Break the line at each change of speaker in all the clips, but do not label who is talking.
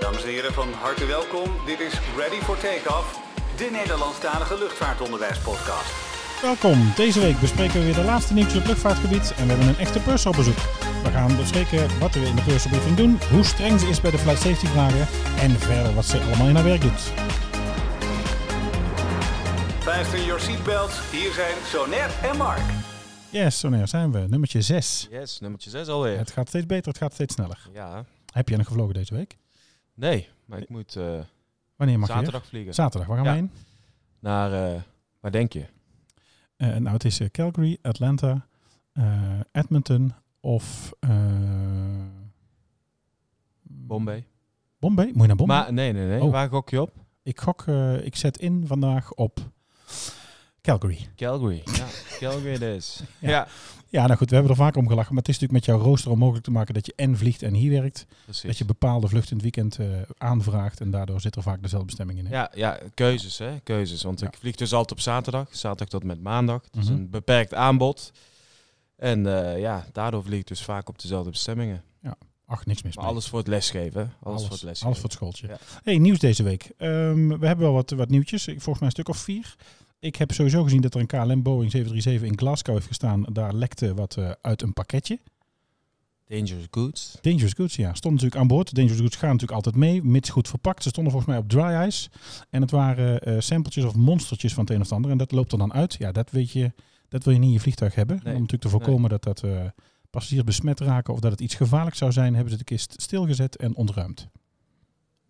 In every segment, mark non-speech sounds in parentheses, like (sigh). en heren, van harte welkom. Dit is Ready for Takeoff, de Nederlandstalige luchtvaartonderwijspodcast.
Welkom. Deze week bespreken we weer de laatste nieuws op het luchtvaartgebied en we hebben een echte purser op bezoek. We gaan bespreken wat we in de purserbriefing doen, hoe streng ze is bij de flight safety vragen en verder wat ze allemaal in haar werk doet.
Fasten your seatbelts, hier zijn Sonet en Mark.
Yes, zo neer zijn we. Nummertje 6.
Yes, nummertje 6 alweer.
Het gaat steeds beter, het gaat steeds sneller.
Ja.
Heb jij nog gevlogen deze week?
Nee, maar ik moet eh,
Wanneer mag je?
zaterdag
weer?
vliegen.
Zaterdag, waar gaan we
Ja.
heen?
naar, eh, waar denk je?
Eh, nou, het is eh, Calgary, Atlanta, eh, Edmonton of eh,
Bombay.
Bombay? Moet je naar Bombay?
Maar nee, nee, nee.
Oh.
Waar gok je op?
Ik gok, eh, ik zet in vandaag op Calgary.
Calgary. Ja, (laughs) Calgary it is.
Ja.
Ja.
Ja, nou goed, we hebben er vaak om gelachen. Maar het is natuurlijk met jouw rooster om mogelijk te maken dat je en vliegt en hier werkt. Dat
precies.
je bepaalde vluchten in het weekend eh, aanvraagt en daardoor zit er vaak dezelfde bestemming in. hè?
Ja, ja, keuzes hè, keuzes. Want
Ja.
ik vlieg dus altijd op zaterdag. Zaterdag tot en met maandag. Het is
Mhm.
een beperkt aanbod. En eh, ja, daardoor vlieg ik dus vaak op dezelfde bestemmingen.
Ach, niks mis
Maar
mee.
alles voor het lesgeven. hè. Alles, voor het lesgeven.
alles voor het schooltje.
Ja.
hey, nieuws deze week. Ehm, we hebben wel wat, wat nieuwtjes. Ik- Volgens mij een stuk of vier. Ik heb sowieso gezien dat er een KLM Boeing 737 in Glasgow heeft gestaan. Daar lekte wat eh, uit een pakketje.
Dangerous goods.
Dangerous Goods, ja. Stonden natuurlijk aan boord. Dangerous Goods gaan natuurlijk altijd mee, mits goed verpakt. Ze stonden volgens mij op dry ice. En het waren eh sampletjes of monstertjes van het een of het ander. En dat loopt er dan uit. Ja, dat weet je, dat wil je niet in je vliegtuig hebben. Om natuurlijk te voorkomen dat dat eh, passagiers besmet raken of dat het iets gevaarlijks zou zijn, hebben ze de kist stilgezet en ontruimd.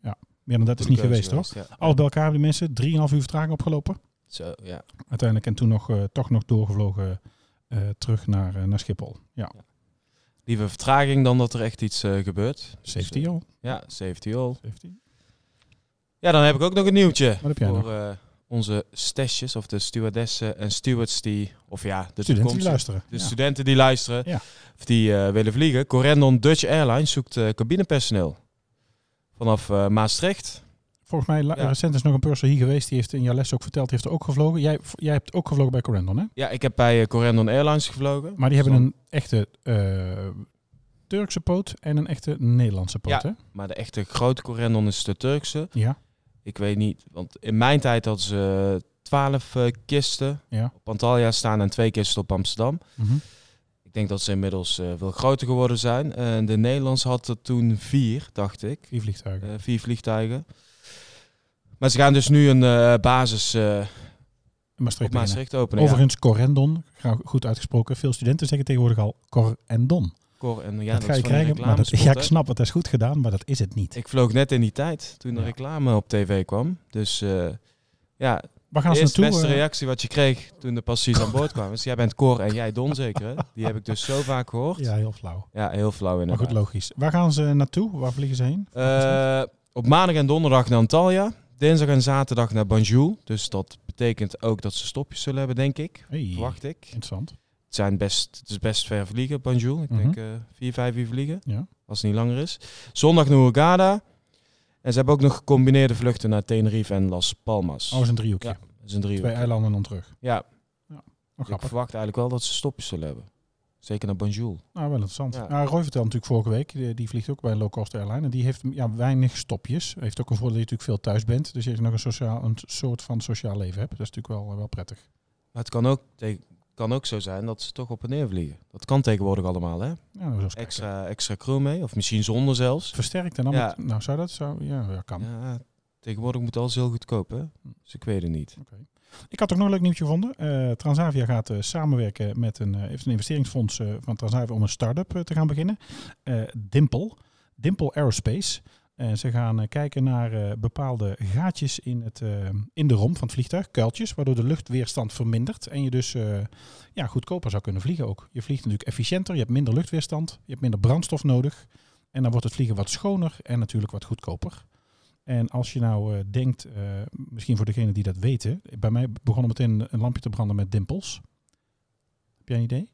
Ja, meer dan dat is niet
Goede
geweest,
keuze
hoor.
geweest, ja.
Alles bij elkaar hebben die mensen 3,5 uur vertraging opgelopen.
Zo, ja.
Uiteindelijk en toen nog, eh, toch nog doorgevlogen eh, terug naar, eh, naar Schiphol. Ja,
Liever vertraging dan dat er echt iets eh, gebeurt.
safety all.
Ja, safety all.
Safety.
Ja, dan heb ik ook nog een nieuwtje.
Wat heb jij
voor
nog?
eh, onze stesjes of de stewardessen en stewards die, of ja, de,
Studenten
Dus
die
toekomstige-
luisteren.
de
Ja.
studenten die luisteren,
Ja.
of die eh, willen vliegen. Corendon Dutch Airlines zoekt eh, cabinepersoneel vanaf eh, Maastricht.
Volgens mij la-
Ja.
recent is nog een purser hier geweest. Die heeft in jouw les ook verteld. Die heeft er ook gevlogen. Jij, v- jij hebt ook gevlogen bij Corendon, hè?
Ja, ik heb bij eh, Corendon Airlines gevlogen.
Maar die hebben
Zo.
een echte eh, Turkse poot en een echte Nederlandse poot,
Ja.
hè?
Maar de echte grote Corendon is de Turkse.
Ja.
Ik weet niet, want in mijn tijd hadden ze twaalf eh, kisten
Ja.
op Antalya staan en twee kisten op Amsterdam.
Mhm.
Ik denk dat ze inmiddels eh, veel groter geworden zijn. En de Nederlands had er toen vier, dacht ik.
Vier vliegtuigen.
Eh, vier vliegtuigen. Maar ze gaan dus nu een eh, basis eh
In Maastricht
op
beginnen.
Maastricht openen. ja.
Overigens, Corendon, gra- goed uitgesproken. Veel studenten zeggen tegenwoordig al Corendon.
Cor en eh, ja,
dat, ga je
is van die
krijgen. Maar dat,
reclamespot,
ja, ik
hè.
snap het, dat is goed gedaan, maar dat is het niet.
Ik vloog net in die tijd toen de
Ja.
reclame op tv kwam. Dus eh ja,
Waar gaan
de
ze
eerste
naartoe?
beste
eh?
reactie wat je kreeg toen de passies aan boord kwamen. Dus jij bent Cor en jij Don zeker. Hè? Die heb ik dus zo vaak gehoord. Ja,
ja, heel flauw.
heel flauw
Maar
inderdaad.
goed, logisch. Waar gaan ze naartoe? Waar vliegen ze heen?
Eh, op maandag en donderdag naar Antalya. Dinsdag en zaterdag naar Banjul. Dus dat betekent ook dat ze stopjes zullen hebben, denk ik.
Hey,
Verwacht ik.
Interessant.
Het, zijn best, het is best ver vliegen, Banjul. Ik
Mhm.
denk eh, vier, vijf uur vliegen.
Ja.
Als het niet langer is. Zondag naar Hurghada. En ze hebben ook nog gecombineerde vluchten naar Tenerife en Las Palmas.
Oh, is een driehoekje.
Ja, dat is een driehoek.
Twee eilanden en dan terug.
Ja,
Oh,
ik
grappig.
verwacht eigenlijk wel dat ze stopjes zullen hebben. Zeker naar Banjul.
Nou, wel interessant.
Ja.
Nou, Roy vertelde natuurlijk vorige week, die, die vliegt ook bij een low-cost airline. En die heeft ja, weinig stopjes. Heeft ook een voordeel dat je natuurlijk veel thuis bent. Dus je nog een, sociaal, een soort van sociaal leven hebt. Dat is natuurlijk wel, wel prettig.
Maar het kan ook, te- kan ook zo zijn dat ze toch op en neer vliegen. Dat kan tegenwoordig allemaal, hè?
Ja, nou, zo eens kijken.
Extra, extra crew mee. Of misschien zonder zelfs.
Versterkt en dan
Ja.
met- Nou, zou dat zo? Ja, ja, kan.
Ja, tegenwoordig moet alles heel goedkoop, hè? Dus ik weet het niet.
Ik had ook nog een leuk nieuwtje gevonden. Eh, Transavia gaat eh, samenwerken met een, eh, heeft een investeringsfonds eh, van Transavia om een start-up eh, te gaan beginnen. Eh Dimple. Dimple Aerospace. Eh, ze gaan eh, kijken naar eh, bepaalde gaatjes in, het, eh, in de romp van het vliegtuig, kuiltjes, waardoor de luchtweerstand vermindert en je dus eh, ja, goedkoper zou kunnen vliegen ook. Je vliegt natuurlijk efficiënter, je hebt minder luchtweerstand, je hebt minder brandstof nodig en dan wordt het vliegen wat schoner en natuurlijk wat goedkoper. En als je nou eh, denkt, eh, misschien voor degenen die dat weten, bij mij begon er meteen een lampje te branden met dimpels. Heb jij een idee?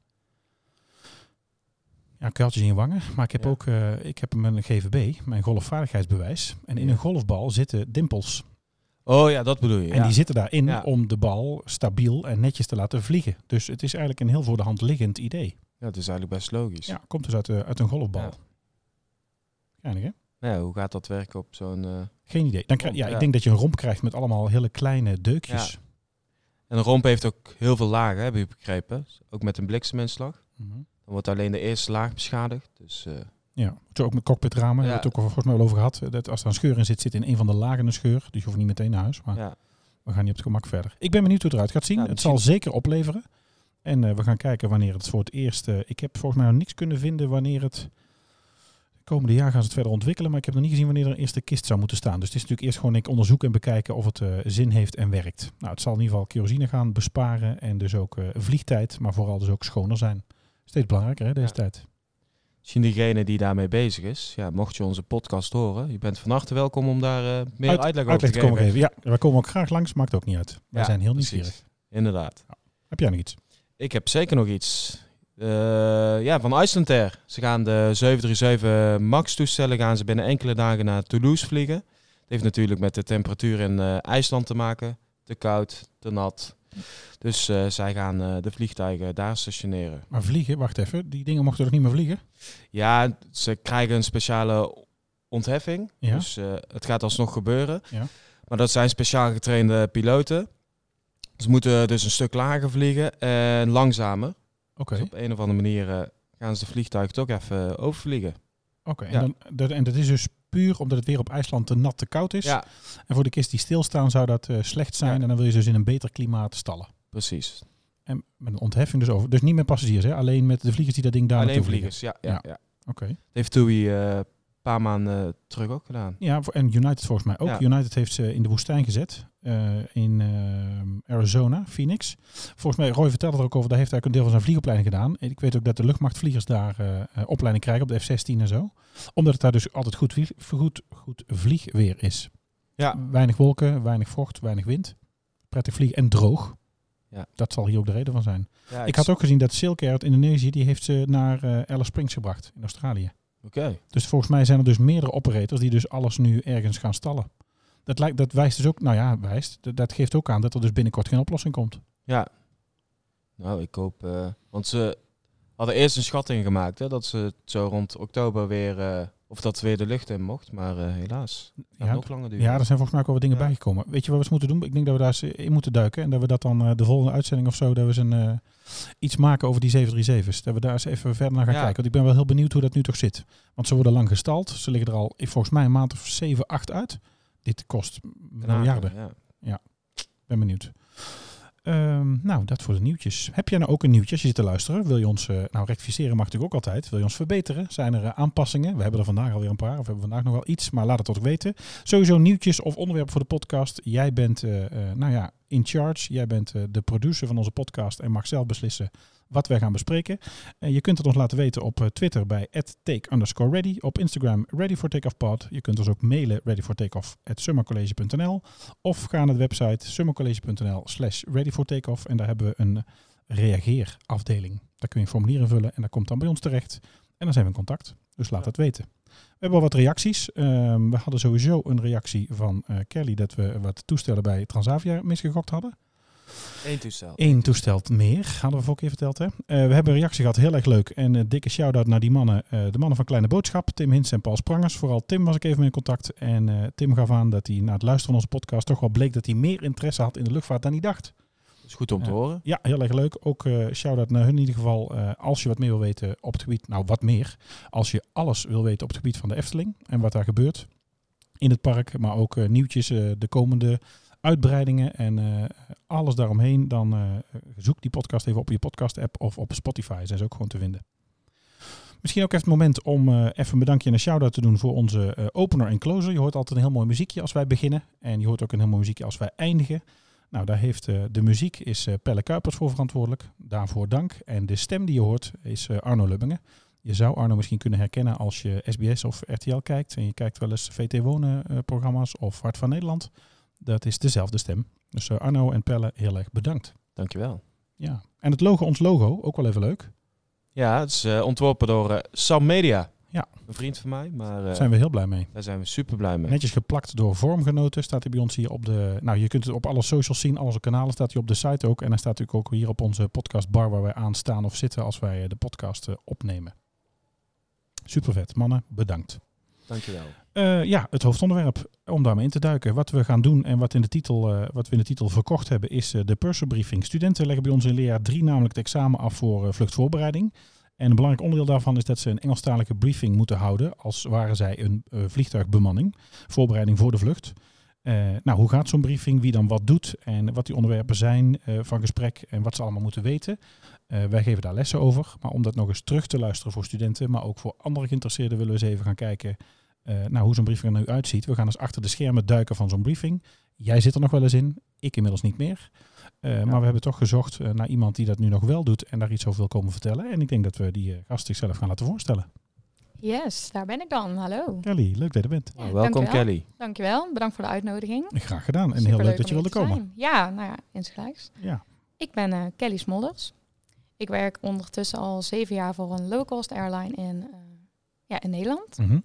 Ja, kuiltjes in je wangen. Maar ik heb
Ja.
ook, eh, ik heb mijn GVB, mijn golfvaardigheidsbewijs. En in
Ja.
een golfbal zitten dimpels.
Oh ja, dat bedoel je.
En
ja.
die zitten daarin
Ja.
om de bal stabiel en netjes te laten vliegen. Dus het is eigenlijk een heel voor de hand liggend idee.
Ja, dat is eigenlijk best logisch.
Ja, komt dus uit, eh, uit een golfbal.
Ja.
Geinig, hè?
Nou, ja, hoe gaat dat werken op zo'n... eh,
Geen idee. Dan krijg, ja,
Ja.
ik denk dat je een romp krijgt met allemaal hele kleine deukjes.
En een romp heeft ook heel veel lagen, heb je begrepen. Ook met een blikseminslag.
Mhm.
Dan wordt alleen de eerste laag beschadigd. Dus eh,
Ja, zo ook met cockpitramen. Daar
Ja.
hebben we het ook volgens mij al over gehad. Dat als er een scheur in zit, zit in een van de lagen een scheur. Dus je hoeft niet meteen naar huis. Maar
ja.
we gaan niet op het gemak verder. Ik ben benieuwd hoe het eruit gaat zien.
Ja,
het
misschien-
zal zeker opleveren. En eh, we gaan kijken wanneer het voor het eerst... eh, ik heb volgens mij nog niks kunnen vinden wanneer het... komende jaar gaan ze het verder ontwikkelen. Maar ik heb nog niet gezien wanneer er een eerste kist zou moeten staan. Dus het is natuurlijk eerst gewoon ik onderzoeken en bekijken of het eh, zin heeft en werkt. Nou, het zal in ieder geval kerosine gaan besparen. En dus ook eh, vliegtijd. Maar vooral dus ook schoner zijn. Steeds belangrijker hè, deze
Ja.
tijd.
misschien diegene die daarmee bezig is. Ja, mocht je onze podcast horen, je bent van harte welkom om daar eh, meer
Uit-
uitleg over
Uitleg
te
te
geven.
komen geven. Ja, wij komen ook graag langs. Maakt ook niet uit. Wij
Ja,
zijn heel
precies.
nieuwsgierig.
Inderdaad.
Heb jij nog iets?
Ik heb zeker nog iets. Eh, ja, van Iceland Air. Ze gaan de 737 MAX toestellen gaan ze binnen enkele dagen naar Toulouse vliegen. Het heeft natuurlijk met de temperatuur in eh, IJsland te maken. Te koud, te nat. Dus eh, zij gaan eh, de vliegtuigen daar stationeren.
Maar vliegen, wacht even. Die dingen mochten toch niet meer vliegen?
Ja, ze krijgen een speciale ontheffing.
Ja.
Dus eh, het gaat alsnog gebeuren.
Ja.
Maar dat zijn speciaal getrainde piloten. Ze moeten dus een stuk lager vliegen en langzamer.
Oké.
Dus op een of andere manier eh, gaan ze de vliegtuig toch even overvliegen.
Oké. En
Ja.
dan- dat- En dat is dus puur omdat het weer op IJsland te nat te koud is.
Ja,
En voor de kist die stilstaan zou dat eh, slecht zijn.
Ja.
En dan wil je dus in een beter klimaat stallen.
precies.
En met een ontheffing dus over. Dus niet met passagiers, hè? alleen met de vliegers die dat ding daar
Alleen
naartoe vliegen.
vliegers, ja. ja, ja.
Ja. Oké.
Dat heeft TUI eh, een paar maanden eh, terug ook gedaan.
Ja, voor- en United volgens mij ook.
Ja.
United heeft ze in de woestijn gezet. eh, in eh, Arizona, Phoenix. Volgens mij, Roy vertelde er ook over, daar heeft hij ook een deel van zijn vliegopleiding gedaan. En ik weet ook dat de luchtmachtvliegers daar eh, eh, opleiding krijgen op de F-16 en zo. Omdat het daar dus altijd goed, vlieg, goed, goed vliegweer is.
Ja.
Ah, Weinig wolken, weinig vocht, weinig wind. Prettig vliegen en droog.
Ja.
Dat zal hier ook de reden van zijn.
ja
ik had ook gezien dat Silk uit Indonesië, die heeft ze naar eh, Alice Springs gebracht in Australië.
Oké.
Dus volgens mij zijn er dus meerdere operators die dus alles nu ergens gaan stallen. Dat, lijkt, dat wijst dus ook, nou ja, wijst, dat, dat geeft ook aan dat er dus binnenkort geen oplossing komt.
Ja. Nou, ik hoop... eh, want ze hadden eerst een schatting gemaakt, hè, dat ze het zo rond oktober weer... eh, of dat weer de lucht in mocht, maar eh, helaas. Het gaat
Ja,
nog langer duren.
Ja, er zijn volgens mij ook wel wat dingen
Ja.
bijgekomen. Weet je wat we eens moeten doen? Ik denk dat we daar eens eh, in moeten duiken en dat we dat dan eh, de volgende uitzending of zo, dat we eens een, eh, iets maken over die 737's. Dat we daar eens even verder naar gaan
Ja.
kijken. Want ik ben wel heel benieuwd hoe dat nu toch zit. Want ze worden lang gestald. Ze liggen er al eh, volgens mij een maand of 7, 8 uit. Dit kost
Daarna,
miljarden.
Ja.
ben benieuwd. Ehm, nou, dat voor de nieuwtjes. Heb jij nou ook een nieuwtje als je zit te luisteren? Wil je ons, eh, nou rectificeren mag natuurlijk ook altijd. Wil je ons verbeteren? Zijn er eh, aanpassingen? We hebben er vandaag alweer een paar. Of hebben we vandaag nog wel iets. Maar laat het ons weten. Sowieso nieuwtjes of onderwerpen voor de podcast. Jij bent, eh, eh, nou ja, in charge. Jij bent eh, de producer van onze podcast. En mag zelf beslissen wat wij gaan bespreken. En je kunt het ons laten weten op eh, Twitter bij take ready. Op Instagram ready for takeoff pod. Je kunt ons ook mailen ready for takeoff at summercollege.nl. Of ga naar de website summercollege.nl slash ready for takeoff. En daar hebben we een reageerafdeling. Daar kun je een formulier invullen en dat komt dan bij ons terecht. En dan zijn we in contact. Dus laat dat weten. We hebben al wat reacties. Ehm, we hadden sowieso een reactie van eh, Kelly dat we wat toestellen bij Transavia misgegokt hadden.
Eén toestel.
Eén toestel meer, hadden we vorige keer verteld. Hè? Eh, we hebben een reactie gehad, heel erg leuk. En een dikke shout-out naar die mannen, eh, de mannen van Kleine Boodschap, Tim Hintz en Paul Sprangers. Vooral Tim was ik even mee in contact. En eh, Tim gaf aan dat hij na het luisteren van onze podcast toch wel bleek dat hij meer interesse had in de luchtvaart dan hij dacht.
Is goed om te
Ja.
horen.
Ja, heel erg leuk. Ook eh shout-out naar hun in ieder geval. eh, als je wat meer wil weten op het gebied, nou wat meer. Als je alles wil weten op het gebied van de Efteling en wat daar gebeurt in het park. Maar ook eh, nieuwtjes, eh, de komende uitbreidingen en eh, alles daaromheen. Dan eh, zoek die podcast even op je podcast-app of op Spotify. Zijn ze ook gewoon te vinden. Misschien ook even het moment om eh, even een bedankje en een shout-out te doen voor onze eh, opener en closer. Je hoort altijd een heel mooi muziekje als wij beginnen. En je hoort ook een heel mooi muziekje als wij eindigen. Nou, daar heeft eh, de muziek is eh, Pelle Kuipers voor verantwoordelijk. Daarvoor dank. En de stem die je hoort is eh, Arno Lubbingen. Je zou Arno misschien kunnen herkennen als je SBS of RTL kijkt. En je kijkt wel eens VT Wonen eh, programma's of Hart van Nederland. Dat is dezelfde stem. Dus eh, Arno en Pelle, heel erg bedankt.
Dankjewel.
Ja. En het logo, ons logo, ook wel even leuk.
Ja, het is eh, ontworpen door eh, Sam Media.
Ja.
Een vriend van mij, maar eh,
Daar zijn we heel blij mee.
daar zijn we super blij mee.
Netjes geplakt door vormgenoten staat hij bij ons hier op de... Nou, je kunt het op alle socials zien, alle kanalen staat hij op de site ook. En hij staat natuurlijk ook hier op onze podcastbar waar wij aan staan of zitten als wij eh, de podcast eh, opnemen. Super vet, mannen, bedankt.
Dankjewel.
Eh, ja, het hoofdonderwerp, om daarmee in te duiken. Wat we gaan doen en wat, in de titel, eh, wat we in de titel verkocht hebben, is eh, de purserbriefing. Studenten leggen bij ons in leerjaar 3 namelijk het examen af voor eh, vluchtvoorbereiding. En een belangrijk onderdeel daarvan is dat ze een Engelstalige briefing moeten houden, als waren zij een eh, vliegtuigbemanning, voorbereiding voor de vlucht. Eh, nou, hoe gaat zo'n briefing? Wie dan wat doet en wat die onderwerpen zijn eh, van gesprek en wat ze allemaal moeten weten. Eh, wij geven daar lessen over, maar om dat nog eens terug te luisteren voor studenten, maar ook voor andere geïnteresseerden, willen we eens even gaan kijken eh, nou, hoe zo'n briefing er nu uitziet. We gaan eens achter de schermen duiken van zo'n briefing. Jij zit er nog wel eens in, ik inmiddels niet meer. Eh, Maar we hebben toch gezocht eh, naar iemand die dat nu nog wel doet en daar iets over wil komen vertellen. En ik denk dat we die eh, gast zichzelf gaan laten voorstellen.
Yes, daar ben ik dan. Hallo.
Kelly, leuk dat je er bent.
Ja,
Nou, welkom
dankjewel.
Kelly.
Dankjewel. Bedankt voor de uitnodiging.
Graag gedaan en heel
Superleuk
leuk
om
dat je
hier
wilde
te
komen.
zijn. Ja, nou ja, insgelijks.
Ja.
Ik ben eh, Kelly Smolders. Ik werk ondertussen al zeven jaar voor een low-cost airline in, eh, ja, in Nederland.
Mhm.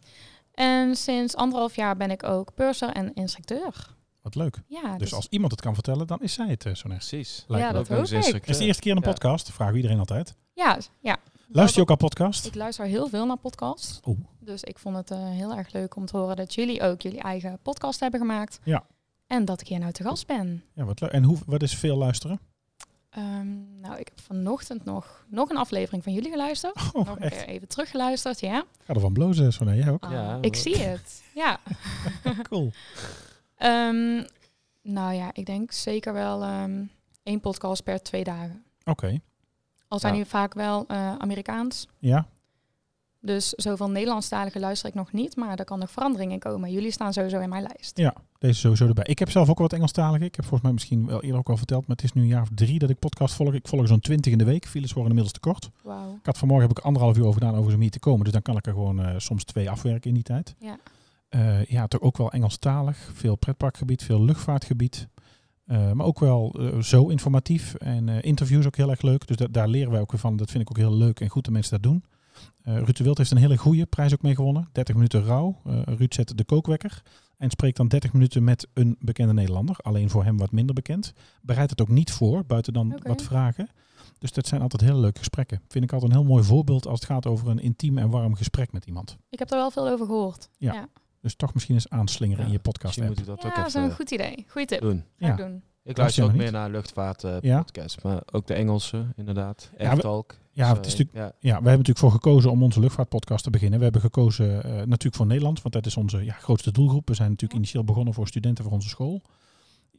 En sinds anderhalf jaar ben ik ook purser en instructeur.
Wat leuk.
Ja,
Dus als iemand het kan vertellen, dan is zij het eh, zo net.
Precies.
Lijkt
Ja,
me.
dat
Ook nog eens
hoop ik. eh,
Het is de eerste keer een
Ja.
podcast, vragen we iedereen altijd.
ja, ja.
Luister je ook al podcast?
Ik luister heel veel naar podcasts.
Oeh.
Dus ik vond het eh, heel erg leuk om te horen dat jullie ook jullie eigen podcast hebben gemaakt.
Ja.
En dat ik hier nou te gast ben.
Ja, wat leuk. En hoe, wat is veel luisteren? (laughs)
Ehm, nou, ik heb vanochtend nog, nog een aflevering van jullie geluisterd.
Oh,
nog een
echt.
keer even teruggeluisterd, ja.
Ga er van blozen, zo jij ook.
Ah,
Ja,
ik
we-
zie het, ja.
Cool.
Ehm, nou ja, ik denk zeker wel ehm, één podcast per twee dagen.
Oké.
Al zijn
Ja.
die vaak wel eh, Amerikaans.
Ja,
Dus zoveel Nederlandstaligen luister ik nog niet, maar daar kan nog verandering in komen. Jullie staan sowieso in mijn lijst.
Ja, deze sowieso erbij. Ik heb zelf ook wat Engelstalig. Ik heb volgens mij misschien wel eerder ook al verteld, maar het is nu een jaar of drie dat ik podcast volg. Ik volg er zo'n twintig in de week. Files worden inmiddels te kort.
Wauw.
Ik had vanmorgen heb ik anderhalf uur over gedaan over zo'n hier te komen. Dus dan kan ik er gewoon eh, soms twee afwerken in die tijd.
Ja.
Eh, ja, toch ook wel Engelstalig. Veel pretparkgebied, veel luchtvaartgebied. Eh, maar ook wel eh, zo informatief. En eh, interviews ook heel erg leuk. Dus da- daar leren wij ook weer van. Dat vind ik ook heel leuk en goed dat mensen dat doen. Eh Ruud de Wild heeft een hele goede prijs ook mee gewonnen. 30 minuten rauw. Eh Ruud zet de kookwekker. En spreekt dan 30 minuten met een bekende Nederlander. Alleen voor hem wat minder bekend. Bereidt het ook niet voor, buiten dan
Oké.
wat vragen. Dus dat zijn altijd hele leuke gesprekken. Vind ik altijd een heel mooi voorbeeld als het gaat over een intiem en warm gesprek met iemand.
Ik heb er wel veel over gehoord.
Dus toch misschien eens aanslingeren
Ja,
in je podcast.
Misschien moet ik dat
ja,
ook eh,
dat is een
even
goed idee. Goeie tip.
doen.
Ga
Ja.
ik doen.
Ik luister
je
ook
nog
meer naar luchtvaartpodcasts,
Ja.
podcasts, maar ook de Engelse inderdaad.
we-
Airtalk.
Ja, het is natuurlijk Ja, we hebben natuurlijk voor gekozen om onze luchtvaartpodcast te beginnen. We hebben gekozen eh, natuurlijk voor Nederland, want dat is onze ja, grootste doelgroep. We zijn natuurlijk initieel begonnen voor studenten voor onze school.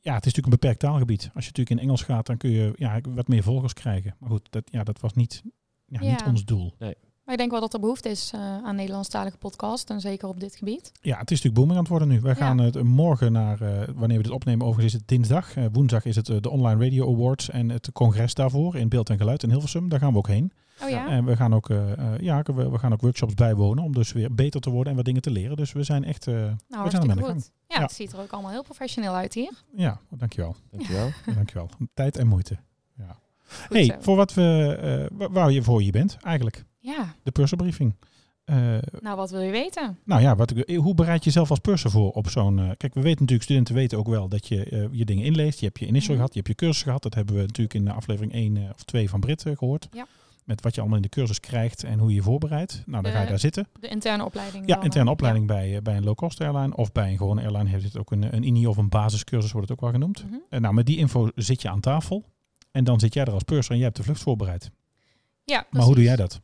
Ja, het is natuurlijk een beperkt taalgebied. Als je natuurlijk in Engels gaat, dan kun je ja, wat meer volgers krijgen. Maar goed, dat, ja, dat was niet, ja, niet
Ja.
ons doel.
Maar ik denk wel dat er behoefte is eh, aan Nederlandstalige podcast. En zeker op dit gebied.
Ja, het is natuurlijk booming aan het worden nu. Wij gaan het morgen naar, eh, wanneer we dit opnemen, overigens is het dinsdag. Eh, woensdag is het eh, de Online Radio Awards en het congres daarvoor in beeld en geluid in Hilversum. Daar gaan we ook heen.
Oh ja?
En we gaan ook, eh, eh, ja, we, we gaan ook workshops bijwonen om dus weer beter te worden en wat dingen te leren. Dus we zijn echt, eh
nou,
we zijn
hartstikke
ermee aan de
goed. Ja,
Ja.
het ziet er ook allemaal heel professioneel uit hier.
ja,
(laughs)
dankjewel.
Dankjewel.
dankjewel. Tijd en moeite. Ja.
Goed
Hey,
zo.
voor wat we, eh, wa- waar je voor je bent eigenlijk,
Ja,
de purserbriefing. Eh,
nou wat wil je weten?
nou ja, wat, ik- hoe bereid je jezelf als purser voor op zo'n... eh, kijk, we weten natuurlijk, studenten weten ook wel dat je eh, je dingen inleest. Je hebt je initial
Mhm.
gehad, je hebt je cursus gehad. Dat hebben we natuurlijk in eh, aflevering 1 of 2 van Brit eh, gehoord.
Ja.
Met wat je allemaal in de cursus krijgt en hoe je je voorbereidt. Nou, dan ga je
De-
daar zitten.
De interne opleiding.
Ja,
dan,
interne
eh,
opleiding Bij, eh, bij een low-cost airline of bij een gewone airline heeft het ook een, een INI of een basiscursus, wordt het ook wel genoemd.
ja. Mhm.
En nou, met die info zit je aan tafel en dan zit jij er als purser en jij hebt de vlucht voorbereid.
Ja,
Maar hoe doe
precies.
jij dat?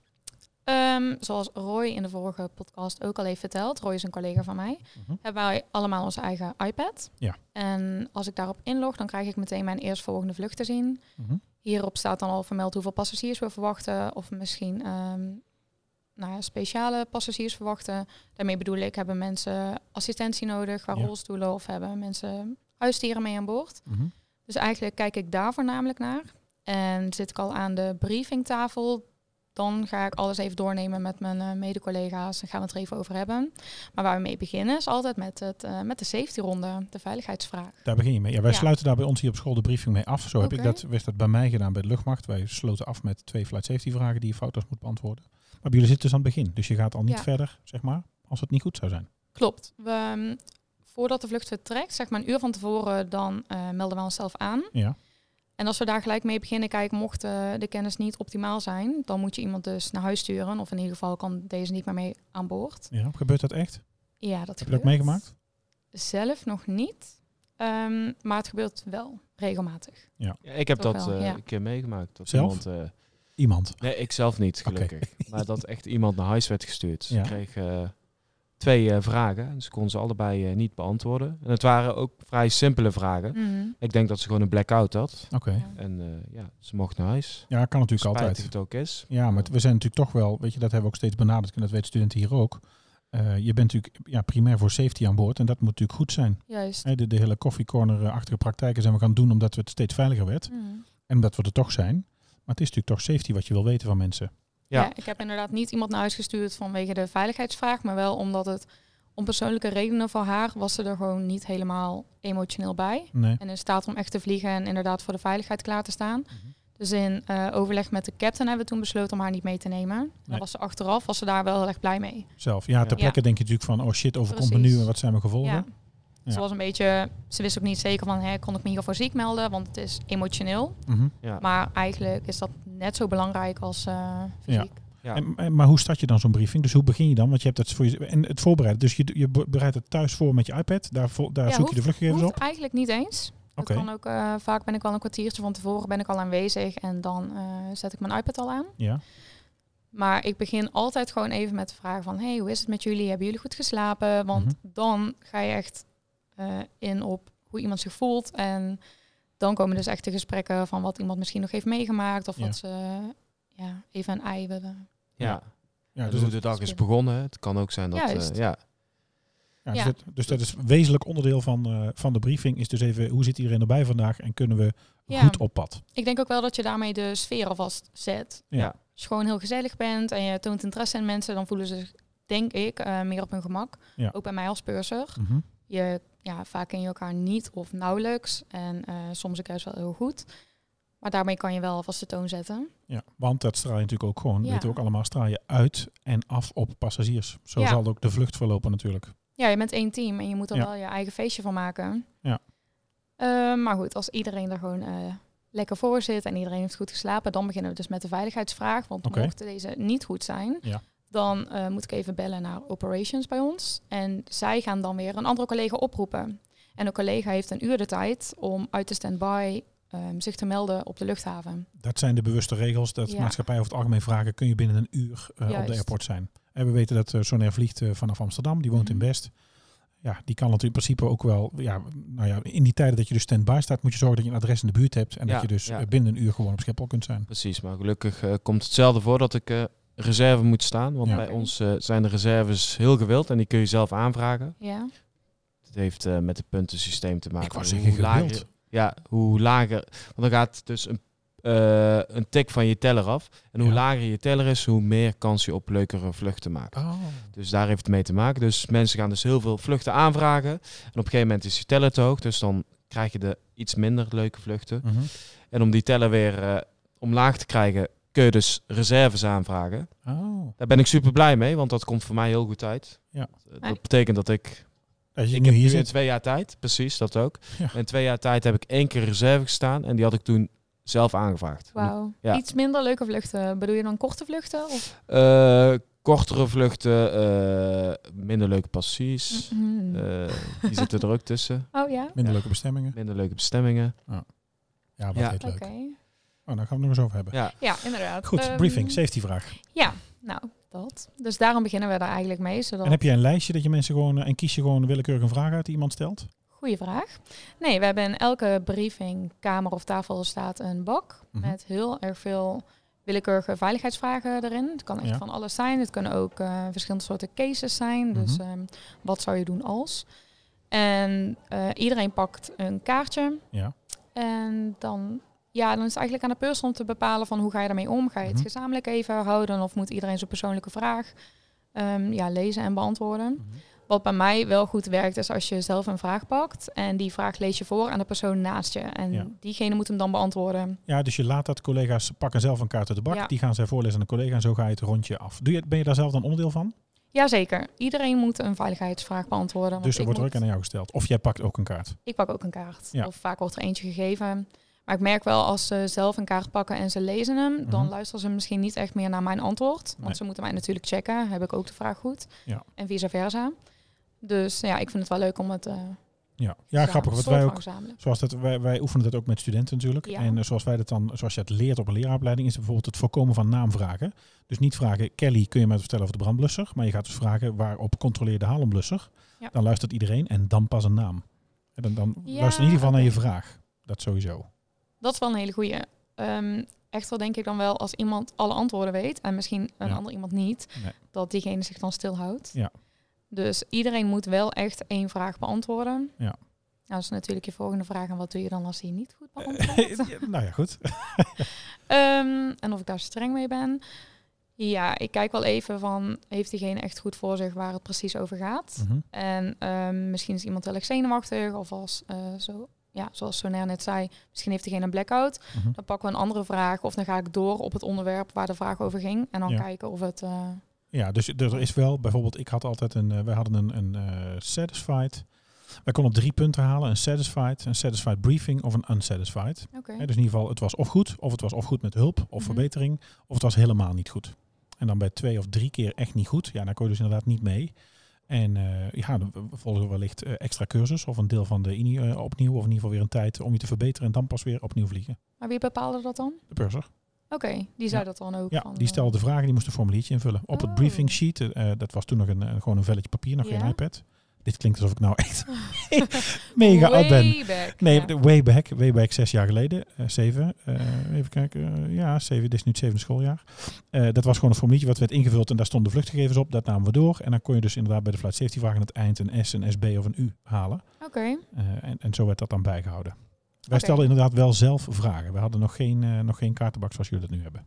Ehm, zoals Roy in de vorige podcast ook al heeft verteld, Roy is een collega van mij,
Mhm.
hebben wij allemaal onze eigen iPad.
Ja.
En als ik daarop inlog, dan krijg ik meteen mijn eerstvolgende vlucht te zien.
Mhm.
Hierop staat dan al vermeld hoeveel passagiers we verwachten, of misschien ehm, nou ja, speciale passagiers verwachten. Daarmee bedoel ik, hebben mensen assistentie nodig qua
Ja.
rolstoelen of hebben mensen huisdieren mee aan boord?
Mhm.
Dus eigenlijk kijk ik daar voornamelijk naar. En zit ik al aan de briefingtafel, dan ga ik alles even doornemen met mijn eh, mede-collega's. Dan gaan we het er even over hebben. Maar waar we mee beginnen is altijd met, het, eh, met de safety ronde, de veiligheidsvraag.
Daar begin je mee. Ja, wij
Ja.
sluiten daar bij ons hier op school de briefing mee af. Zo heb ik
Oké.
dat, werd dat bij mij gedaan bij de luchtmacht. Wij sloten af met twee flight safety vragen die je foutloos moet beantwoorden. Maar bij jullie zitten dus aan het begin. Dus je gaat al niet
Ja.
verder, zeg maar, als het niet goed zou zijn.
Klopt. We, ehm, voordat de vlucht vertrekt, zeg maar een uur van tevoren, dan eh, melden we onszelf aan.
Ja.
En als we daar gelijk mee beginnen, kijk, mocht eh, de kennis niet optimaal zijn, dan moet je iemand dus naar huis sturen. Of in ieder geval kan deze niet meer mee aan boord.
ja. Gebeurt dat echt?
Ja, dat
Heb je dat
gebeurt.
ook meegemaakt?
Zelf nog niet. Ehm, maar het gebeurt wel
(laughs)
regelmatig.
Ja, ik heb
Toch
dat
wel,
eh,
ja.
een keer meegemaakt. Dat
Zelf?
Iemand, eh,
Iemand.
nee, ik zelf niet,
Oké.
gelukkig. Maar dat echt iemand naar huis werd gestuurd. Ze
Ja.
kreeg eh, twee eh, vragen en ze kon ze allebei eh, niet beantwoorden. En het waren ook vrij simpele vragen.
Mhm.
Ik denk dat ze gewoon een blackout had.
Oké.
Ja.
En eh, ja, ze mocht naar huis.
Ja, kan natuurlijk
Spijtig
altijd.
het ook is.
Ja, maar het- we zijn natuurlijk toch wel, weet je, dat hebben we ook steeds benadrukt en dat weten studenten hier ook. Eh, je bent natuurlijk ja, primair voor safety aan boord en dat moet natuurlijk goed zijn.
Juist.
Hè, de, de hele koffiecorner-achtige praktijken zijn we gaan doen omdat het steeds veiliger werd
Mhm.
en omdat we er toch zijn. Maar het is natuurlijk toch safety wat je wil weten van mensen.
Ja.
Ja. ik heb inderdaad niet iemand naar huis gestuurd vanwege de veiligheidsvraag, maar wel omdat het om persoonlijke redenen voor haar was ze er gewoon niet helemaal emotioneel bij.
Nee.
En in staat om echt te vliegen en inderdaad voor de veiligheid klaar te staan.
Mhm.
Dus in eh, overleg met de captain hebben we toen besloten om haar niet mee te nemen. Maar
Nee.
was ze achteraf, was ze daar wel heel erg blij mee.
Zelf. Ja, ter
Ja.
plekke denk je natuurlijk van, oh shit, overkomt me
Precies.
nu en wat zijn mijn gevolgen?
Ja.
Ja.
Ze was een beetje, ze wist ook niet zeker van, hè, kon ik me hiervoor ziek melden, want het is emotioneel.
Mhm.
Ja.
Maar eigenlijk is dat net zo belangrijk als eh, fysiek.
Ja.
En, en- maar hoe start je dan zo'n briefing? Dus hoe begin je dan? Want je hebt dat voor je, en het voorbereiden. Dus je, je bereidt het thuis voor met je iPad. Daar, vo- daar
Ja,
zoek je de vluchtgegevens
Hoeft
op.
eigenlijk niet eens.
Oké.
Dat kan ook, eh, vaak ben ik al een kwartiertje van tevoren ben ik al aanwezig en dan eh, zet ik mijn iPad al aan.
Ja. dus
Maar ik begin altijd gewoon even met de vraag van, hey, hoe is het met jullie? Hebben jullie goed geslapen? Want
Mhm.
dan ga je echt eh, in op hoe iemand zich voelt. En dan komen dus echt de gesprekken van wat iemand misschien nog heeft meegemaakt. Of
Ja.
wat ze ja, even een ei willen.
Ja.
Ja,
En
dus,
hoe
het-
de dag is
spelen.
begonnen. hè. Het kan ook zijn dat... eh,
Juist.
ja.
ja, dus,
Ja.
Dat, dus dat is wezenlijk onderdeel van, eh, van de briefing. Is dus even hoe zit iedereen erbij vandaag en kunnen we
Ja.
goed op pad?
Ik denk ook wel dat je daarmee de sfeer alvast zet.
Ja.
Als je gewoon heel gezellig bent en je toont interesse in mensen, dan voelen ze zich, denk ik, eh, meer op hun gemak.
Ja.
Ook bij mij als purser.
Mhm.
je, ja, vaak ken je elkaar niet of nauwelijks. En eh, soms ook juist wel heel goed. Maar daarmee kan je wel alvast de toon zetten.
Ja, want dat straal je natuurlijk ook gewoon,
Ja.
weten we ook allemaal, straal je uit en af op passagiers. Zo
Ja.
zal ook de vlucht verlopen natuurlijk.
Ja, je bent één team en je moet er
Ja.
wel je eigen feestje van maken.
Ja.
Eh, maar goed, als iedereen er gewoon eh, lekker voor zit en iedereen heeft goed geslapen, dan beginnen we dus met de veiligheidsvraag. Want
Oké.
mochten deze niet goed zijn,
Ja.
dan eh, moet ik even bellen naar operations bij ons. En zij gaan dan weer een andere collega oproepen. En een collega heeft een uur de tijd om uit de standby eh, zich te melden op de luchthaven.
Dat zijn de bewuste regels. Dat
Ja.
maatschappij over het algemeen vragen, kun je binnen een uur eh, op
Juist.
de airport zijn. En we weten dat eh, Sonair vliegt eh, vanaf Amsterdam, die woont
Mhm.
in Best. Ja, die kan natuurlijk in principe ook wel, ja, nou ja, in die tijden dat je dus stand-by staat, moet je zorgen dat je een adres in de buurt hebt. En
Ja,
dat je dus
ja.
eh, binnen een uur gewoon op Schiphol kunt zijn.
Precies, maar gelukkig eh, komt hetzelfde voor dat ik eh, reserve moet staan. Want
Ja.
bij ons eh, zijn de reserves heel gewild en die kun je zelf aanvragen.
Ja.
Het heeft eh, met het puntensysteem te maken.
Ik wou zeggen,
lager-
gewild.
Ja, hoe lager. Want dan gaat dus een, eh, een tik van je teller af. En hoe
Ja.
lager je teller is, hoe meer kans je op leukere vluchten maakt.
Oh.
Dus daar heeft het mee te maken. Dus mensen gaan dus heel veel vluchten aanvragen. En op een gegeven moment is je teller te hoog. Dus dan krijg je de iets minder leuke vluchten.
Mhm.
En om die teller weer eh, omlaag te krijgen, kun je dus reserves aanvragen.
Oh.
Daar ben ik super blij mee, want dat komt voor mij heel goed uit.
Ja.
Eh,
Hey.
Dat betekent dat ik.
Als je
ik
nu
heb dus
hier
nu in
zit.
twee jaar tijd, precies dat ook.
Ja.
In twee jaar tijd heb ik één keer reserve gestaan en die had ik toen zelf aangevraagd.
Wauw.
Ja.
Iets minder leuke vluchten. Bedoel je dan korte vluchten? Of?
Eh, kortere vluchten, eh, minder leuke passies.
Mm,
Mhm.
Eh, die zitten er ook tussen.
oh ja?
Minder
Ja.
leuke bestemmingen.
Minder leuke bestemmingen.
Ja, wat
Ja.
heet leuk.
Oké.
Oh, daar gaan we het nog eens over hebben.
Ja,
Ja, inderdaad.
Goed,
Ehm,
briefing, safety vraag.
Ja, nou, dat. Dus daarom beginnen we daar eigenlijk mee. Zodat...
En heb jij een lijstje dat je mensen gewoon, eh, en kies je gewoon willekeurig een vraag uit die iemand stelt?
Goeie vraag. Nee, we hebben in elke briefing, kamer of tafel staat een bak
Mhm.
met heel erg veel willekeurige veiligheidsvragen erin. Het kan echt
Ja.
van alles zijn. Het kunnen ook eh, verschillende soorten cases zijn. Dus
Mhm.
ehm, wat zou je doen als? En eh, iedereen pakt een kaartje.
Ja.
En dan, ja, dan is het eigenlijk aan de persoon om te bepalen van hoe ga je daarmee om? Ga je het
Mhm.
gezamenlijk even houden of moet iedereen zijn persoonlijke vraag ehm, ja, lezen en beantwoorden? Wat bij mij wel goed werkt is als je zelf een vraag pakt en die vraag lees je voor aan de persoon naast je. En
Ja.
diegene moet hem dan beantwoorden.
Ja, dus je laat dat collega's pakken zelf een kaart uit de bak.
Ja.
Die gaan zij voorlezen aan de collega en zo ga je het rondje af. Doe je, ben je daar zelf dan onderdeel van?
Jazeker, iedereen moet een veiligheidsvraag beantwoorden. want
dus er
ik
wordt er
moet-
ook aan jou gesteld. Of jij pakt ook een kaart.
Ik pak ook een kaart.
Ja.
Of vaak wordt er eentje gegeven. Maar ik merk wel als ze zelf een kaart pakken en ze lezen hem, dan
Mhm.
luisteren ze misschien niet echt meer naar mijn antwoord. Want
Nee.
ze moeten mij natuurlijk checken. Heb ik ook de vraag goed?
Ja.
En vice versa. Dus ja, ik vind het wel leuk om het... eh
Ja, ja grappig. Wat
soort
wij
van
ook,
verzamelen.
zoals dat, wij, wij oefenen dat ook met studenten natuurlijk.
Ja.
En eh, zoals wij dat dan, zoals je het leert op een leraaropleiding, is het bijvoorbeeld het voorkomen van naamvragen. Dus niet vragen, Kelly, kun je mij vertellen over de brandblusser? Maar je gaat dus vragen, waarop controleer de halomblusser?
Ja.
Dan luistert iedereen en dan pas een naam. En dan, dan
Ja,
luister in ieder geval naar je
oké.
vraag. Dat sowieso.
Dat is wel een hele goeie. Ehm echter denk ik dan wel als iemand alle antwoorden weet en misschien een
Ja.
ander iemand niet,
Nee.
dat diegene zich dan stilhoudt.
Ja.
Dus iedereen moet wel echt één vraag beantwoorden.
Ja.
Nou, dat is natuurlijk je volgende vraag. En wat doe je dan als die niet goed
Eh.
beantwoordt?
(laughs) Ja, nou ja, goed.
Ehm, en of ik daar streng mee ben. Ja, ik kijk wel even van, heeft diegene echt goed voor zich waar het precies over gaat?
Mhm.
En ehm, misschien is iemand heel erg zenuwachtig. Of als, eh, zo, ja, zoals Sonair net zei, misschien heeft diegene een blackout.
Mhm.
Dan pakken we een andere vraag. Of dan ga ik door op het onderwerp waar de vraag over ging. En dan
Ja.
kijken of het... eh,
Ja, dus er is wel bijvoorbeeld, ik had altijd een, eh, wij hadden een, een eh, satisfied. Wij konden op drie punten halen, een satisfied, een satisfied briefing of een unsatisfied.
Oké.
Hè, dus in ieder geval, het was of goed, of het was of goed met hulp of
Mhm.
verbetering, of het was helemaal niet goed. En dan bij twee of drie keer echt niet goed, ja, dan kon je dus inderdaad niet mee. En eh, ja, dan volgen we wellicht eh, extra cursus of een deel van de INI eh, opnieuw, of in ieder geval weer een tijd om je te verbeteren en dan pas weer opnieuw vliegen.
Maar wie bepaalde dat dan?
De purser.
Oké, die zei dat dan ook.
Ja,
van,
die
eh,
stelde de vragen, die moest een formuliertje invullen. Op het
Oh.
briefing sheet, eh, dat was toen nog een, eh, gewoon een velletje papier, nog geen
Ja.
iPad. Dit klinkt alsof ik nou
(laughs)
echt (laughs) mega oud ben.
way back,
Nee,
ja.
de way back, way back zes jaar geleden, eh, zeven. eh, even kijken, eh, ja, zeven, dit is nu het zevende schooljaar. Eh, dat was gewoon een formuliertje wat werd ingevuld en daar stonden de vluchtgegevens op. Dat namen we door en dan kon je dus inderdaad bij de flight safety vraag aan het eind een S, een SB of een U halen.
Oké,
Eh, en, en zo werd dat dan bijgehouden. Wij
Oké.
stelden inderdaad wel zelf vragen. We hadden nog geen, eh, nog geen kaartenbak zoals jullie dat nu hebben.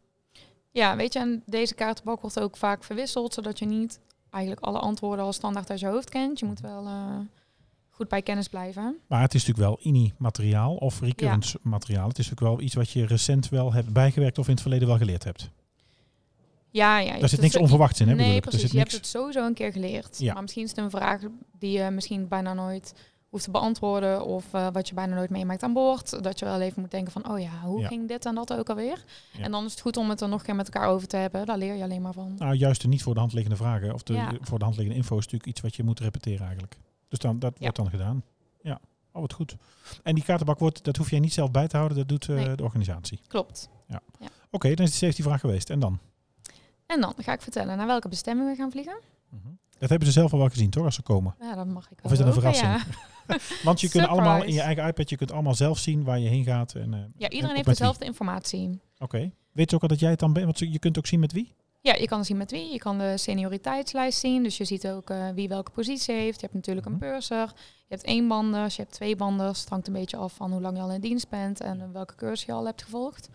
ja, weet je, en deze kaartenbak wordt ook vaak verwisseld, zodat je niet eigenlijk alle antwoorden al standaard uit je hoofd kent. Je moet wel eh, goed bij kennis blijven.
Maar het is natuurlijk wel INI-materiaal of recurrence materiaal. Het is natuurlijk wel iets wat je recent wel hebt bijgewerkt of in het verleden wel geleerd hebt.
Ja, ja.
Daar zit niks onverwachts in, hè? bedoel
Nee,
ik.
precies.
Er
Je
zit niks...
hebt het sowieso een keer geleerd.
Ja.
Maar misschien is het een vraag die je misschien bijna nooit hoeft te beantwoorden. Of eh, wat je bijna nooit meemaakt aan boord. Dat je wel even moet denken van, oh ja, hoe
Ja.
ging dit en dat ook alweer?
Ja.
En dan is het goed om het er nog een keer met elkaar over te hebben. Daar leer je alleen maar van.
Nou, juist de niet voor de hand liggende vragen of de
Ja.
de voor de hand liggende info is natuurlijk iets wat je moet repeteren eigenlijk. Dus dan, dat
Ja.
wordt dan gedaan. Ja, oh wat goed. En die kaartenbak, wordt, dat hoef jij niet zelf bij te houden, dat doet eh,
Nee.
de organisatie.
Klopt.
Oké, dan is de safety vraag geweest. En dan?
En dan ga ik vertellen naar welke bestemming we gaan vliegen.
Dat hebben ze zelf al wel gezien, toch, als ze komen.
Ja, dat mag ik wel
Of is dat een
hopen,
verrassing?
ja.
Want je kunt allemaal in je
Surprise.
eigen iPad, je kunt allemaal zelf zien waar je heen gaat. En, eh,
Ja,
en ook
iedereen heeft
met wie.
dezelfde informatie.
Oké. Weet je ook al dat jij het dan bent? Want je kunt ook zien met wie?
Ja, je kan zien met wie. Je kan de senioriteitslijst zien. Dus je ziet ook eh, wie welke positie heeft. Je hebt natuurlijk
Mhm.
een purser. Je hebt eenbanders, je hebt tweebanders. Het hangt een beetje af van hoe lang je al in dienst bent en eh, welke cursus je al hebt gevolgd.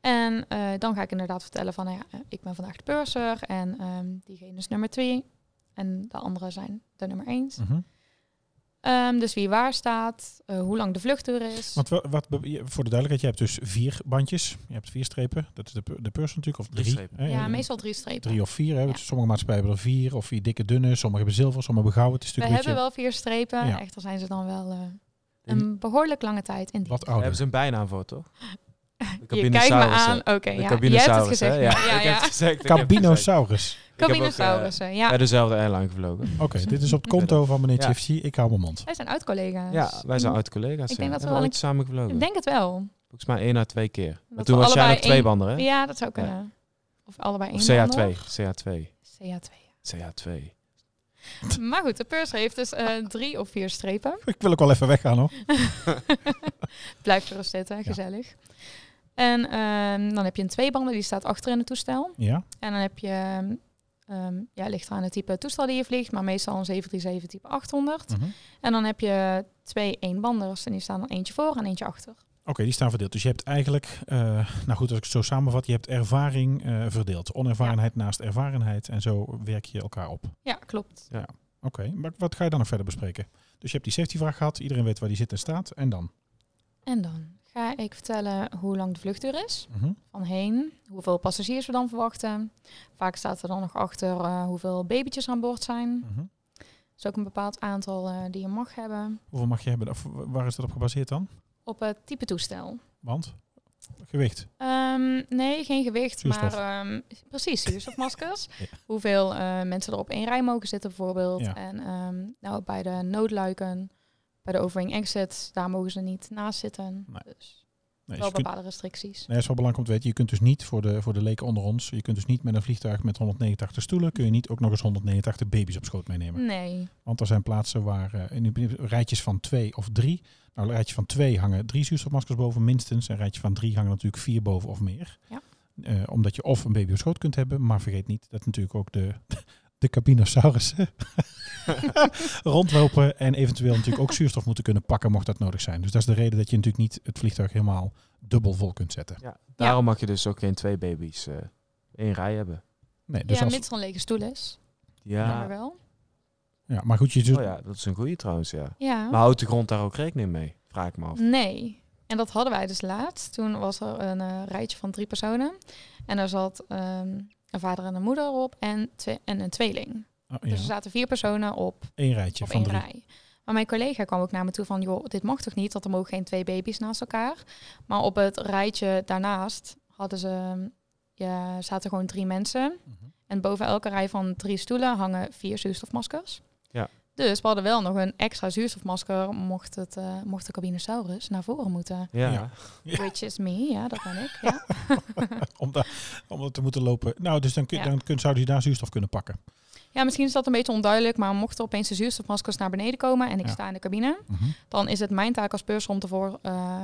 En eh, dan ga ik inderdaad vertellen van, nou ja, eh, ik ben vandaag de purser en ehm, diegene is nummer twee. En de anderen zijn de nummer één.
Mhm.
Ehm, dus wie waar staat, eh, hoe lang de vluchtduur is.
Want wa- wat, be- je- voor de duidelijkheid, je hebt dus vier bandjes. Je hebt vier strepen. Dat is de, pu- de purse natuurlijk. Of
Drie
drie.
strepen.
hè?
ja,
Eh,
meestal drie strepen.
Drie of vier. Hè?
Ja.
Want Sommige maatschappijen hebben er vier. Of vier dikke dunne. Sommige hebben zilver, sommige hebben goud. Het is
We
natuurlijk
hebben
een
wel vier strepen.
Ja.
Echter zijn ze dan wel eh,
In-
een behoorlijk lange tijd in
beetje wat
dienst.
Daar hebben
ouder.
ze een bijnaam voor,
(laughs)
toch? De
Je kijkt me
hè?
aan. Oké,
De
ja. Je hebt het
Cabinosaurus, hè?
gezegd.
Ja,
ja,
ik heb het gezegd. ik heb het gezegd.
Cabinosaurus.
heb ook, eh,
Cabinosaurussen, ja.
Bij dezelfde airline gevlogen.
Oké, dit is op het konto van meneer
Ja.
Chifsy. Ik hou mijn mond.
Wij zijn oud-collega's.
Ja, wij zijn oud collega's.
dus Ik
ja.
denk dat we
hebben
wel
ooit samen gevlogen.
Ik denk het wel.
Volgens mij één à twee keer. Maar
we
toen was jij
allebei
nog twee
één-
banden, hè?
Ja, dat zou kunnen. Of allebei één
Of
ander.
CA2. CA2.
CA2.
CA2.
(laughs) Maar goed, de pers heeft dus eh, drie of vier strepen. (laughs)
Ik wil ook wel even weggaan hoor.
Blijf er eens zitten, gezellig. En ehm, dan heb je een tweebanden, die staat achter in het toestel.
Ja.
En dan heb je, ehm, ja, ligt aan het type toestel die je vliegt, maar meestal een 737 type 800.
Hm.
Mhm.
En dan heb je twee eenbanders en die staan dan eentje voor en eentje achter.
Oké, die staan verdeeld. Dus je hebt eigenlijk, eh, nou goed, als ik het zo samenvat, je hebt ervaring eh, verdeeld. Onervarenheid naast ervarenheid. En zo werk je elkaar op.
Ja, klopt.
Oké, maar wat ga je dan nog verder bespreken? Dus je hebt die safety vraag gehad, iedereen weet waar die zit en staat. En dan?
En dan ga ik vertellen hoe lang de vluchtduur is.
Mhm.
van heen. Hoeveel passagiers we dan verwachten. Vaak staat er dan nog achter eh, hoeveel babytjes aan boord zijn.
Mhm.
Dat is ook een bepaald aantal eh, die je mag hebben.
Hoeveel mag je hebben? Of wa- waar is dat op gebaseerd dan?
Op het type toestel.
Want? Gewicht.
Ehm, nee, geen gewicht,
Zuurstof.
maar ehm, precies, zuurstofmaskers.
(laughs) Ja.
Hoeveel eh, mensen er op één rij mogen zitten bijvoorbeeld.
Ja.
En ehm, nou, bij de noodluiken, bij de overwing exits, daar mogen ze niet naast zitten.
Nee.
Dus
Nee, dus
wel
je kunt-
bepaalde restricties.
Nee, dat is wel belangrijk om te weten. Je kunt dus niet, voor de, voor de leken onder ons, je kunt dus niet met een vliegtuig met 189 stoelen, kun je niet ook nog eens 189 baby's op schoot meenemen.
Nee,
Want er zijn plaatsen waar eh, in die- rijtjes van twee of drie. Nou, een rijtje van twee hangen drie zuurstofmaskers boven minstens. En een rijtje van drie hangen natuurlijk vier boven of meer.
Ja.
Eh, omdat je of een baby op schoot kunt hebben, maar vergeet niet dat natuurlijk ook de, (laughs) de cabinosaurussen (laughs) rondlopen. En eventueel natuurlijk ook zuurstof moeten kunnen pakken, mocht dat nodig zijn. Dus dat is de reden dat je natuurlijk niet het vliegtuig helemaal dubbel vol kunt zetten.
Ja, daarom mag je dus ook geen twee baby's eh in rij hebben.
Nee, dus
ja,
als,
mits er een lege stoel is, maar
Ja.
wel.
ja, maar goed, je
Oh
zult,
ja, dat is een goede trouwens, ja.
Ja.
Maar houdt de grond daar ook rekening mee? Vraag ik me af.
Nee. En dat hadden wij dus laatst. Toen was er een eh, rijtje van drie personen. En daar zat ehm, een vader en een moeder op en, twee- en een tweeling.
oh,
Dus er
ja,
zaten vier personen op,
één rijtje
op
van
één
drie.
rij. Maar mijn collega kwam ook naar me toe van, joh, dit mag toch niet? Want er mogen geen twee baby's naast elkaar. Maar op het rijtje daarnaast hadden ze, ehm, ja, zaten gewoon drie mensen.
Mhm.
En boven elke rij van drie stoelen hangen vier zuurstofmaskers.
Ja.
Dus we hadden wel nog een extra zuurstofmasker mocht, het, eh, mocht de cabinosaurus naar voren moeten.
Ja.
Ja. Ja.
Which is me, ja, dat ben ik. Ja.
om, da om dat te moeten lopen. Nou, dus dan, kun,
Ja.
dan kun, zouden ze daar zuurstof kunnen pakken.
ja, misschien is dat een beetje onduidelijk, maar mochten opeens de zuurstofmaskers naar beneden komen en ik
Ja.
sta in de cabine,
Mhm.
dan is het mijn taak als beurs om, ervoor, eh,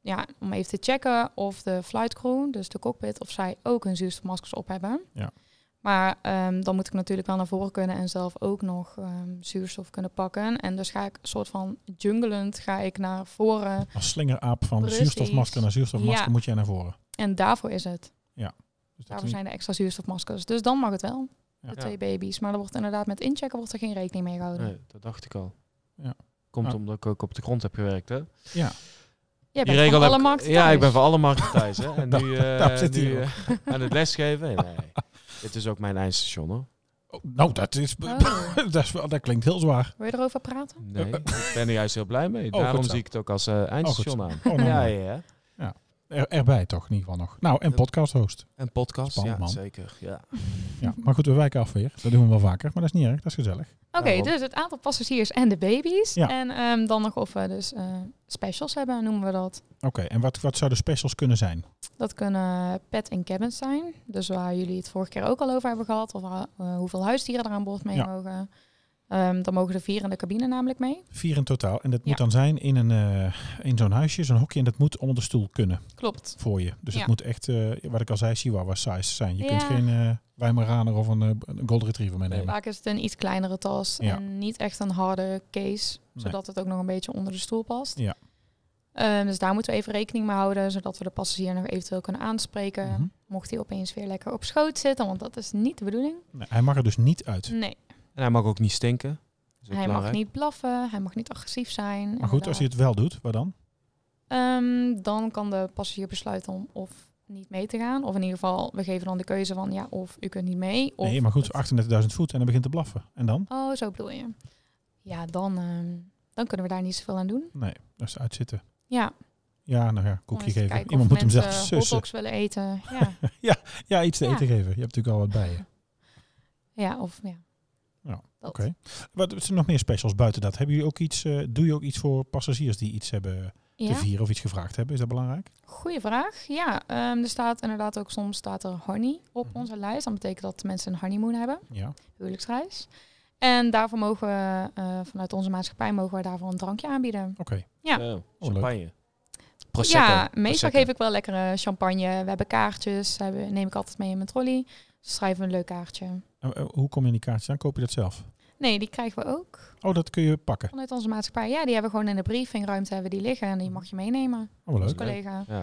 ja, om even te checken of de flight crew, dus de cockpit, of zij ook hun zuurstofmaskers op hebben.
Ja.
Maar ehm, dan moet ik natuurlijk wel naar voren kunnen en zelf ook nog ehm, zuurstof kunnen pakken. En dus ga ik soort van jungelend ga ik naar voren.
Als slingeraap van
Precies.
zuurstofmasker naar zuurstofmasker
Ja.
moet jij naar voren.
En daarvoor is het.
Dus dat
Daarvoor
is-
zijn de extra zuurstofmaskers. Dus dan mag het wel.
Ja.
De twee baby's. Maar er wordt inderdaad met inchecken wordt er geen rekening mee gehouden.
Nee, dat dacht ik al.
Ja.
Komt
Ah.
omdat ik ook op de grond heb gewerkt, hè?
Ja,
Jij
Die
bent van
heb
alle
ik-
markten
Ja,
thuis.
ik ben van alle markten thuis. Hè. En nu,
(laughs)
eh,
daar zit hij
nu,
ook.
eh, (laughs) aan het
(laughs)
lesgeven. Nee, nee. Dit is ook mijn eindstation hoor.
Oh, nou, dat, is,
Oh.
(laughs) dat, is wel, dat klinkt heel zwaar.
Wil je erover praten?
Nee, ik ben er juist heel blij mee.
Oh, goed
Daarom
zo.
zie ik het ook als eh, eindstation aan.
Oh, nou,
ja,
nou.
ja, ja.
Er, erbij toch, in ieder geval nog. Nou, en
Dat-
podcast host.
En podcast,
Spannend,
ja,
man.
zeker. Ja.
Ja, maar goed, we wijken af weer. Dat doen we wel vaker, maar dat is niet erg. Dat is gezellig.
Oké,
Daarom.
dus het aantal passagiers en de baby's.
Ja.
En ehm, dan nog of we dus eh, specials hebben, noemen we dat.
Oké, en wat, wat zouden specials kunnen zijn?
Dat kunnen pet en cabins zijn. Dus waar jullie het vorige keer ook al over hebben gehad. Of waar, eh, hoeveel huisdieren er aan boord mee
Ja.
mogen. Ehm, dan mogen de vier in de cabine namelijk mee.
Vier in totaal. En dat moet
Ja.
dan zijn in, een, eh, in zo'n huisje, zo'n hokje. En dat moet onder de stoel kunnen
Klopt.
voor je. Dus
Ja.
het moet echt, eh, wat ik al zei, chihuahua size zijn. Je kunt
Ja.
geen eh Weimaraner of een, eh, een golden retriever meenemen.
Vaak is het een iets kleinere tas
Ja.
en niet echt een harde case,
Nee.
zodat het ook nog een beetje onder de stoel past.
Ja.
Ehm, dus daar moeten we even rekening mee houden, zodat we de passagier nog eventueel kunnen aanspreken.
Mhm.
Mocht hij opeens weer lekker op schoot zitten, want dat is niet de bedoeling.
Nee, hij mag er dus niet uit.
Nee,
En hij mag ook niet stinken. Dat is ook
hij mag
belangrijk.
niet blaffen, hij mag niet agressief zijn.
Maar goed, als hij het wel doet, wat dan?
Ehm, dan kan de passagier besluiten om of niet mee te gaan. Of in ieder geval, we geven dan de keuze van ja, of u kunt niet mee. Of
nee, maar goed,
het-
38.000 voet en hij begint te blaffen. En dan?
Oh, zo bedoel je. Ja, dan, ehm, dan kunnen we daar niet zoveel aan doen.
Nee, dat is uitzitten.
Ja,
Ja, nou ja,
Om
koekje
eens te
geven.
kijken
Iemand
of
moet hem
mensen
zelf sussen.
hotdogs willen eten.
(laughs)
Ja,
Ja, iets te
Ja.
eten geven. Je hebt natuurlijk al wat bij je.
ja of ja.
Ja,
Dat.
oké. Wat wat zijn nog meer specials buiten dat? Hebben jullie ook iets, eh, doe je ook iets voor passagiers die iets hebben te
Ja,
vieren of iets gevraagd hebben? Is dat belangrijk?
goede vraag. Ja, ehm, er staat inderdaad ook soms staat er honey op
Mhm.
onze lijst. Dat betekent dat mensen een honeymoon hebben,
Ja.
huwelijksreis. En daarvoor mogen we, eh, vanuit onze maatschappij, mogen we daarvoor een drankje aanbieden.
Oké.
Ja.
Oh,
leuk.
champagne. Prosecco.
Ja, meestal
Prosecco.
geef ik wel lekkere champagne. We hebben kaartjes, hebben, neem ik altijd mee in mijn trolley. Dus schrijven we een leuk kaartje.
En, eh, hoe kom je in die kaartjes aan? Koop je dat zelf?
Nee, die krijgen we ook
Oh, dat kun je pakken.
vanuit onze maatschappij. Ja, die hebben we gewoon in de briefingruimte hebben die liggen en die mag je meenemen
Oh, wel
als
leuk.
Oké.
collega.
Ja.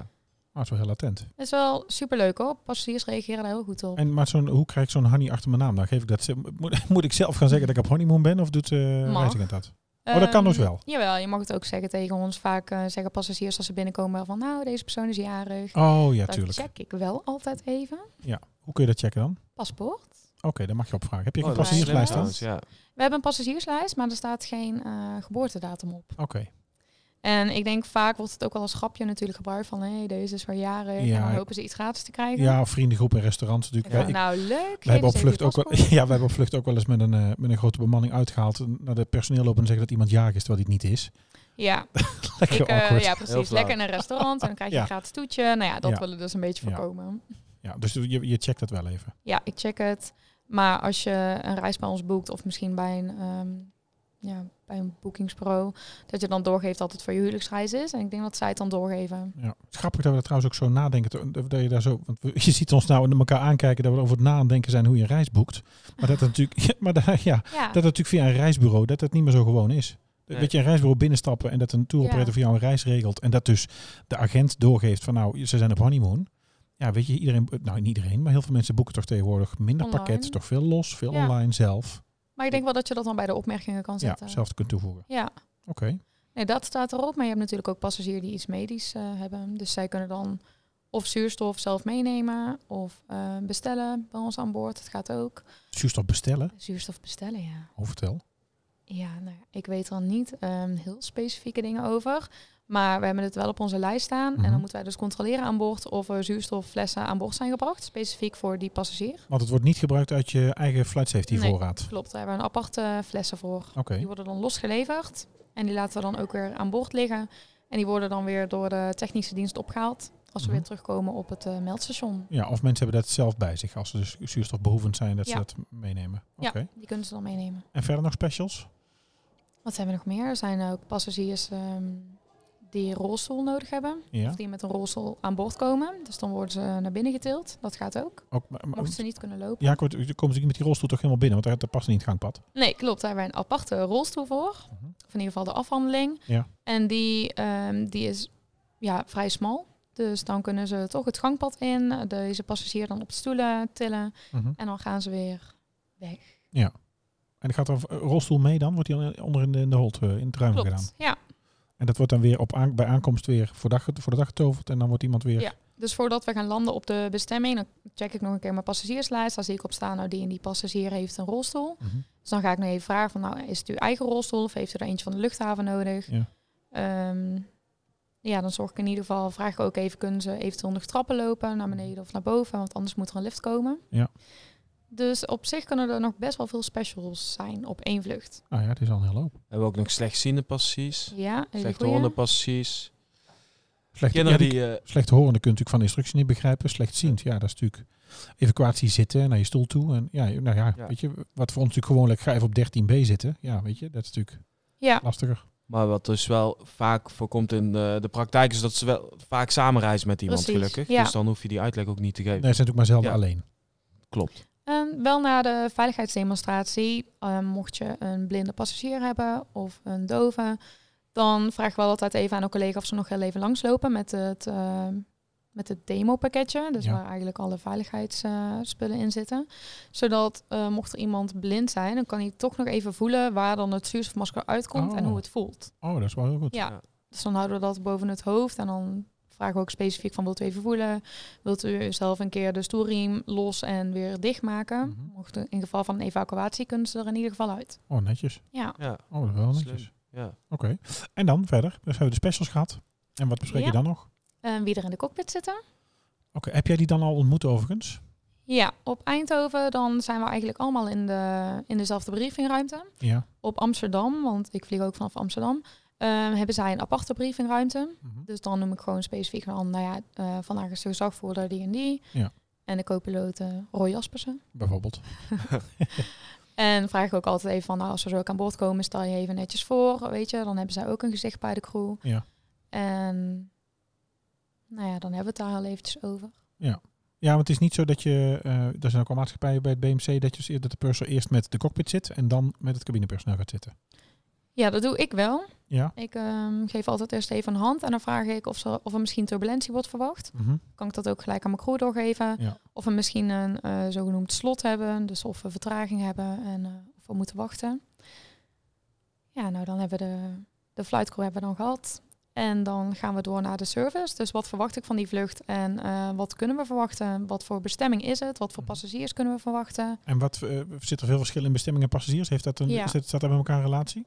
Maar het is wel heel attent.
Dat is wel superleuk hoor. Passagiers reageren daar heel goed op.
En maar zo'n, hoe krijg ik zo'n honey achter mijn naam? Dan geef ik dat, ze- moet, (laughs) moet ik zelf gaan zeggen dat ik op honeymoon ben of doet eh
Mag.
reizigend dat? Oh, dat kan dus
Ehm,
wel.
Jawel, je mag het ook zeggen tegen ons. Vaak eh, zeggen passagiers als ze binnenkomen van nou, deze persoon is jarig.
Oh ja,
dat
tuurlijk.
check ik wel altijd even.
Hoe kun je dat checken dan?
Paspoort.
Oké, dan mag je opvragen. Heb je
Oh,
een
dat is slim
passagierslijst dan?
trouwens, Ja.
We hebben een passagierslijst, maar er staat geen eh, geboortedatum op.
Oké.
En ik denk vaak wordt het ook wel als grapje natuurlijk gebruikt van... hé, hey, deze is weer jaren
Ja.
en dan hopen ze iets gratis te krijgen.
Ja, of vriendengroepen en restaurants
Ik
natuurlijk.
dacht,
Wij- ik-
nou, leuk.
wij hebben, op vlucht ook wel, (laughs) ja, wij hebben op vlucht ook wel eens met een, eh, met een grote bemanning uitgehaald. eh, Naar de personeel lopen en zeggen dat iemand jarig is, terwijl hij het niet is. (laughs)
Ja,
Lekker
ik, eh,
awkward.
ja,
Heel
precies.
flauw.
Lekker in een restaurant en dan krijg je
Ja.
een gratis toetje. Nou ja, dat
Ja.
willen we dus een beetje
Ja.
voorkomen.
Ja, dus je, je checkt dat wel even.
Ja, ik check het. Maar als je een reis bij ons boekt of misschien bij een, ehm, ja, bij een boekingsbureau, dat je dan doorgeeft dat het voor je huwelijksreis is. En ik denk dat zij het dan doorgeven.
Ja. Het is grappig dat we dat trouwens ook zo nadenken. dat- Dat je, daar zo, want we- (laughs) je ziet ons nou in elkaar aankijken dat we over het nadenken zijn hoe je een reis boekt. Maar dat het natuurlijk, (laughs) ja, maar daar- ja,
Ja,
dat het natuurlijk via een reisbureau dat het niet meer zo gewoon is.
Nee.
Dat je een reisbureau binnenstappen en dat een touroperator
Ja.
voor jou een reis regelt. En dat dus de agent doorgeeft van nou, ze zijn op honeymoon. Ja, weet je, iedereen, nou niet iedereen, maar heel veel mensen boeken toch tegenwoordig minder
Online.
pakketten. Toch veel los, veel
Ja.
online zelf.
maar ik denk wel dat je dat dan bij de opmerkingen kan
Ja,
zetten.
zelf kunt toevoegen.
Ja.
Oké, Dus
nee, dat staat erop. Maar je hebt natuurlijk ook passagiers die iets medisch eh, hebben. Dus zij kunnen dan of zuurstof zelf meenemen of eh, bestellen bij ons aan boord. Dat gaat ook.
zuurstof bestellen.
Zuurstof bestellen, ja.
Oh, vertel.
Ja, nou, ja, ik weet er niet ehm, heel specifieke dingen over. Maar we hebben het wel op onze lijst staan. En
Mhm.
dan moeten wij dus controleren aan boord of er zuurstofflessen aan boord zijn gebracht. Specifiek voor die passagier.
Want het wordt niet gebruikt uit je eigen flight safety
Nee.
voorraad.
Klopt, daar hebben we een aparte flessen voor.
Oké,
Die worden dan losgeleverd. En die laten we dan ook weer aan boord liggen. En die worden dan weer door de technische dienst opgehaald. Als we
Mhm.
weer terugkomen op het eh, meldstation.
ja, of mensen hebben dat zelf bij zich. Als ze dus zuurstofbehoevend zijn, dat ze
Ja.
dat meenemen. Oké,
Ja. Die kunnen ze dan meenemen.
en verder nog specials?
Wat hebben we nog meer? Er zijn ook passagiers ehm, die een rolstoel nodig hebben.
Ja,
Of die met een rolstoel aan boord komen. Dus dan worden ze naar binnen getild. Dat gaat ook.
ook, maar- maar-
Mochten ze niet kunnen lopen.
Ja, ik word, dan komen ze natuurlijk met die rolstoel toch helemaal binnen, want daar, daar past niet het gangpad.
Nee, klopt. Daar hebben wij een aparte rolstoel voor. Of
Mhm.
in ieder geval de afhandeling.
Ja.
En die, ehm, die is ja, vrij smal. Dus dan kunnen ze toch het gangpad in. eh, Deze passagier dan op stoelen tillen.
Mhm.
En dan gaan ze weer weg.
En gaat er een rolstoel mee dan? Wordt die dan onder in de, in de holt, eh, in het ruim gedaan?
Klopt. Ja.
En dat wordt dan weer op aan, bij aankomst weer voor, dag, voor de dag getoverd en dan wordt iemand weer...
Ja. Dus voordat we gaan landen op de bestemming, dan check ik nog een keer mijn passagierslijst. Daar zie ik op staan, nou die en die passagier heeft een rolstoel.
Mhm.
Dus dan ga ik nog even vragen van, nou, is het uw eigen rolstoel of heeft u er eentje van de luchthaven nodig?
Ja.
Ehm, ja, dan zorg ik in ieder geval, vraag ik ook even, kunnen ze eventueel nog trappen lopen naar beneden of naar boven? Want anders moet er een lift komen.
Ja.
Dus op zich kunnen er nog best wel veel specials zijn op één vlucht.
Nou ja, het is al een hele hoop.
Hebben we ook nog slechtziende passagiers,
Ja, hele
slechte
goeie.
hondenpassagiers.
Slecht,
Kinderen
ja,
die... eh,
slecht horen, kunt natuurlijk van de instructie niet begrijpen. Slechtziend, ja, dat is natuurlijk evacuatie zitten naar je stoel toe. En ja, nou ja,
Ja.
weet je, wat voor ons natuurlijk gewoonlijk, ga even op 13b zitten. Ja, weet je, dat is natuurlijk
Ja,
lastiger.
maar wat dus wel vaak voorkomt in de, de praktijk is dat ze wel vaak samenreizen met iemand
Precies,
gelukkig.
ja.
Dus dan hoef je die uitleg ook niet te
Nee,
geven.
ze zijn natuurlijk maar zelden
Ja.
alleen.
Klopt.
Ehm, wel na de veiligheidsdemonstratie, ehm, mocht je een blinde passagier hebben of een dove, dan vraag ik wel altijd even aan een collega of ze nog heel even langslopen met het, ehm, met het demopakketje. Dus
Ja.
waar eigenlijk alle veiligheidsspullen in zitten. Zodat eh, mocht er iemand blind zijn, dan kan hij toch nog even voelen waar dan het zuurstofmasker uitkomt en
Oh.
hoe het voelt.
Oh, dat is wel heel goed.
Ja.
Ja.
Dus dan houden we dat boven het hoofd en dan vragen we ook specifiek van wilt u even voelen? Wilt u zelf een keer de stoelriem los en weer dichtmaken?
Mhm.
Mocht er- in geval van een evacuatie kunnen ze er in ieder geval uit.
Oh, netjes.
Ja.
Ja,
Oh, dat is wel
slim.
netjes.
Ja.
Oké. En dan verder. Dus hebben we de specials gehad. En wat bespreek je
Ja.
dan nog? Oké,
En wie er in de cockpit zitten?
heb jij die dan al ontmoet overigens?
Ja, op Eindhoven dan zijn we eigenlijk allemaal in, de, in dezelfde briefingruimte.
Ja.
Op Amsterdam, want ik vlieg ook vanaf Amsterdam, eh, hebben zij een aparte briefingruimte.
Mhm.
Dus dan noem ik gewoon specifiek van, nou ja, eh, vandaag is de gezagvoerder die en die.
Ja.
En de co-piloot eh, Roy Jaspersen.
Bijvoorbeeld.
En vraag ik ook altijd even van, nou, als we zo ook aan boord komen, stel je even netjes voor, weet je. Dan hebben zij ook een gezicht bij de crew.
Ja.
En, nou ja, dan hebben we het daar al eventjes over.
Ja, want het is niet zo dat je, eh er zijn ook al maatschappijen bij het BMC, dat, je, dus dat de purser eerst met de cockpit zit en dan met het cabinepersoneel gaat zitten.
Ja, dat doe ik wel.
Ja.
Ik ehm, geef altijd eerst even een hand en dan vraag ik of, ze, of er misschien turbulentie wordt verwacht.
Mhm.
Kan ik dat ook gelijk aan mijn crew doorgeven?
Ja.
Of we misschien een eh, zogenoemd slot hebben, dus of we vertraging hebben en eh, of we moeten wachten. Ja, nou dan hebben we de, de flight crew hebben we dan gehad. En dan gaan we door naar de service. Dus wat verwacht ik van die vlucht en eh, wat kunnen we verwachten? Wat voor bestemming is het? Wat voor
Mhm.
passagiers kunnen we verwachten?
En wat eh, zit er veel verschil in bestemmingen en passagiers? Heeft dat een,
Ja.
is dat, staat dat bij elkaar een relatie?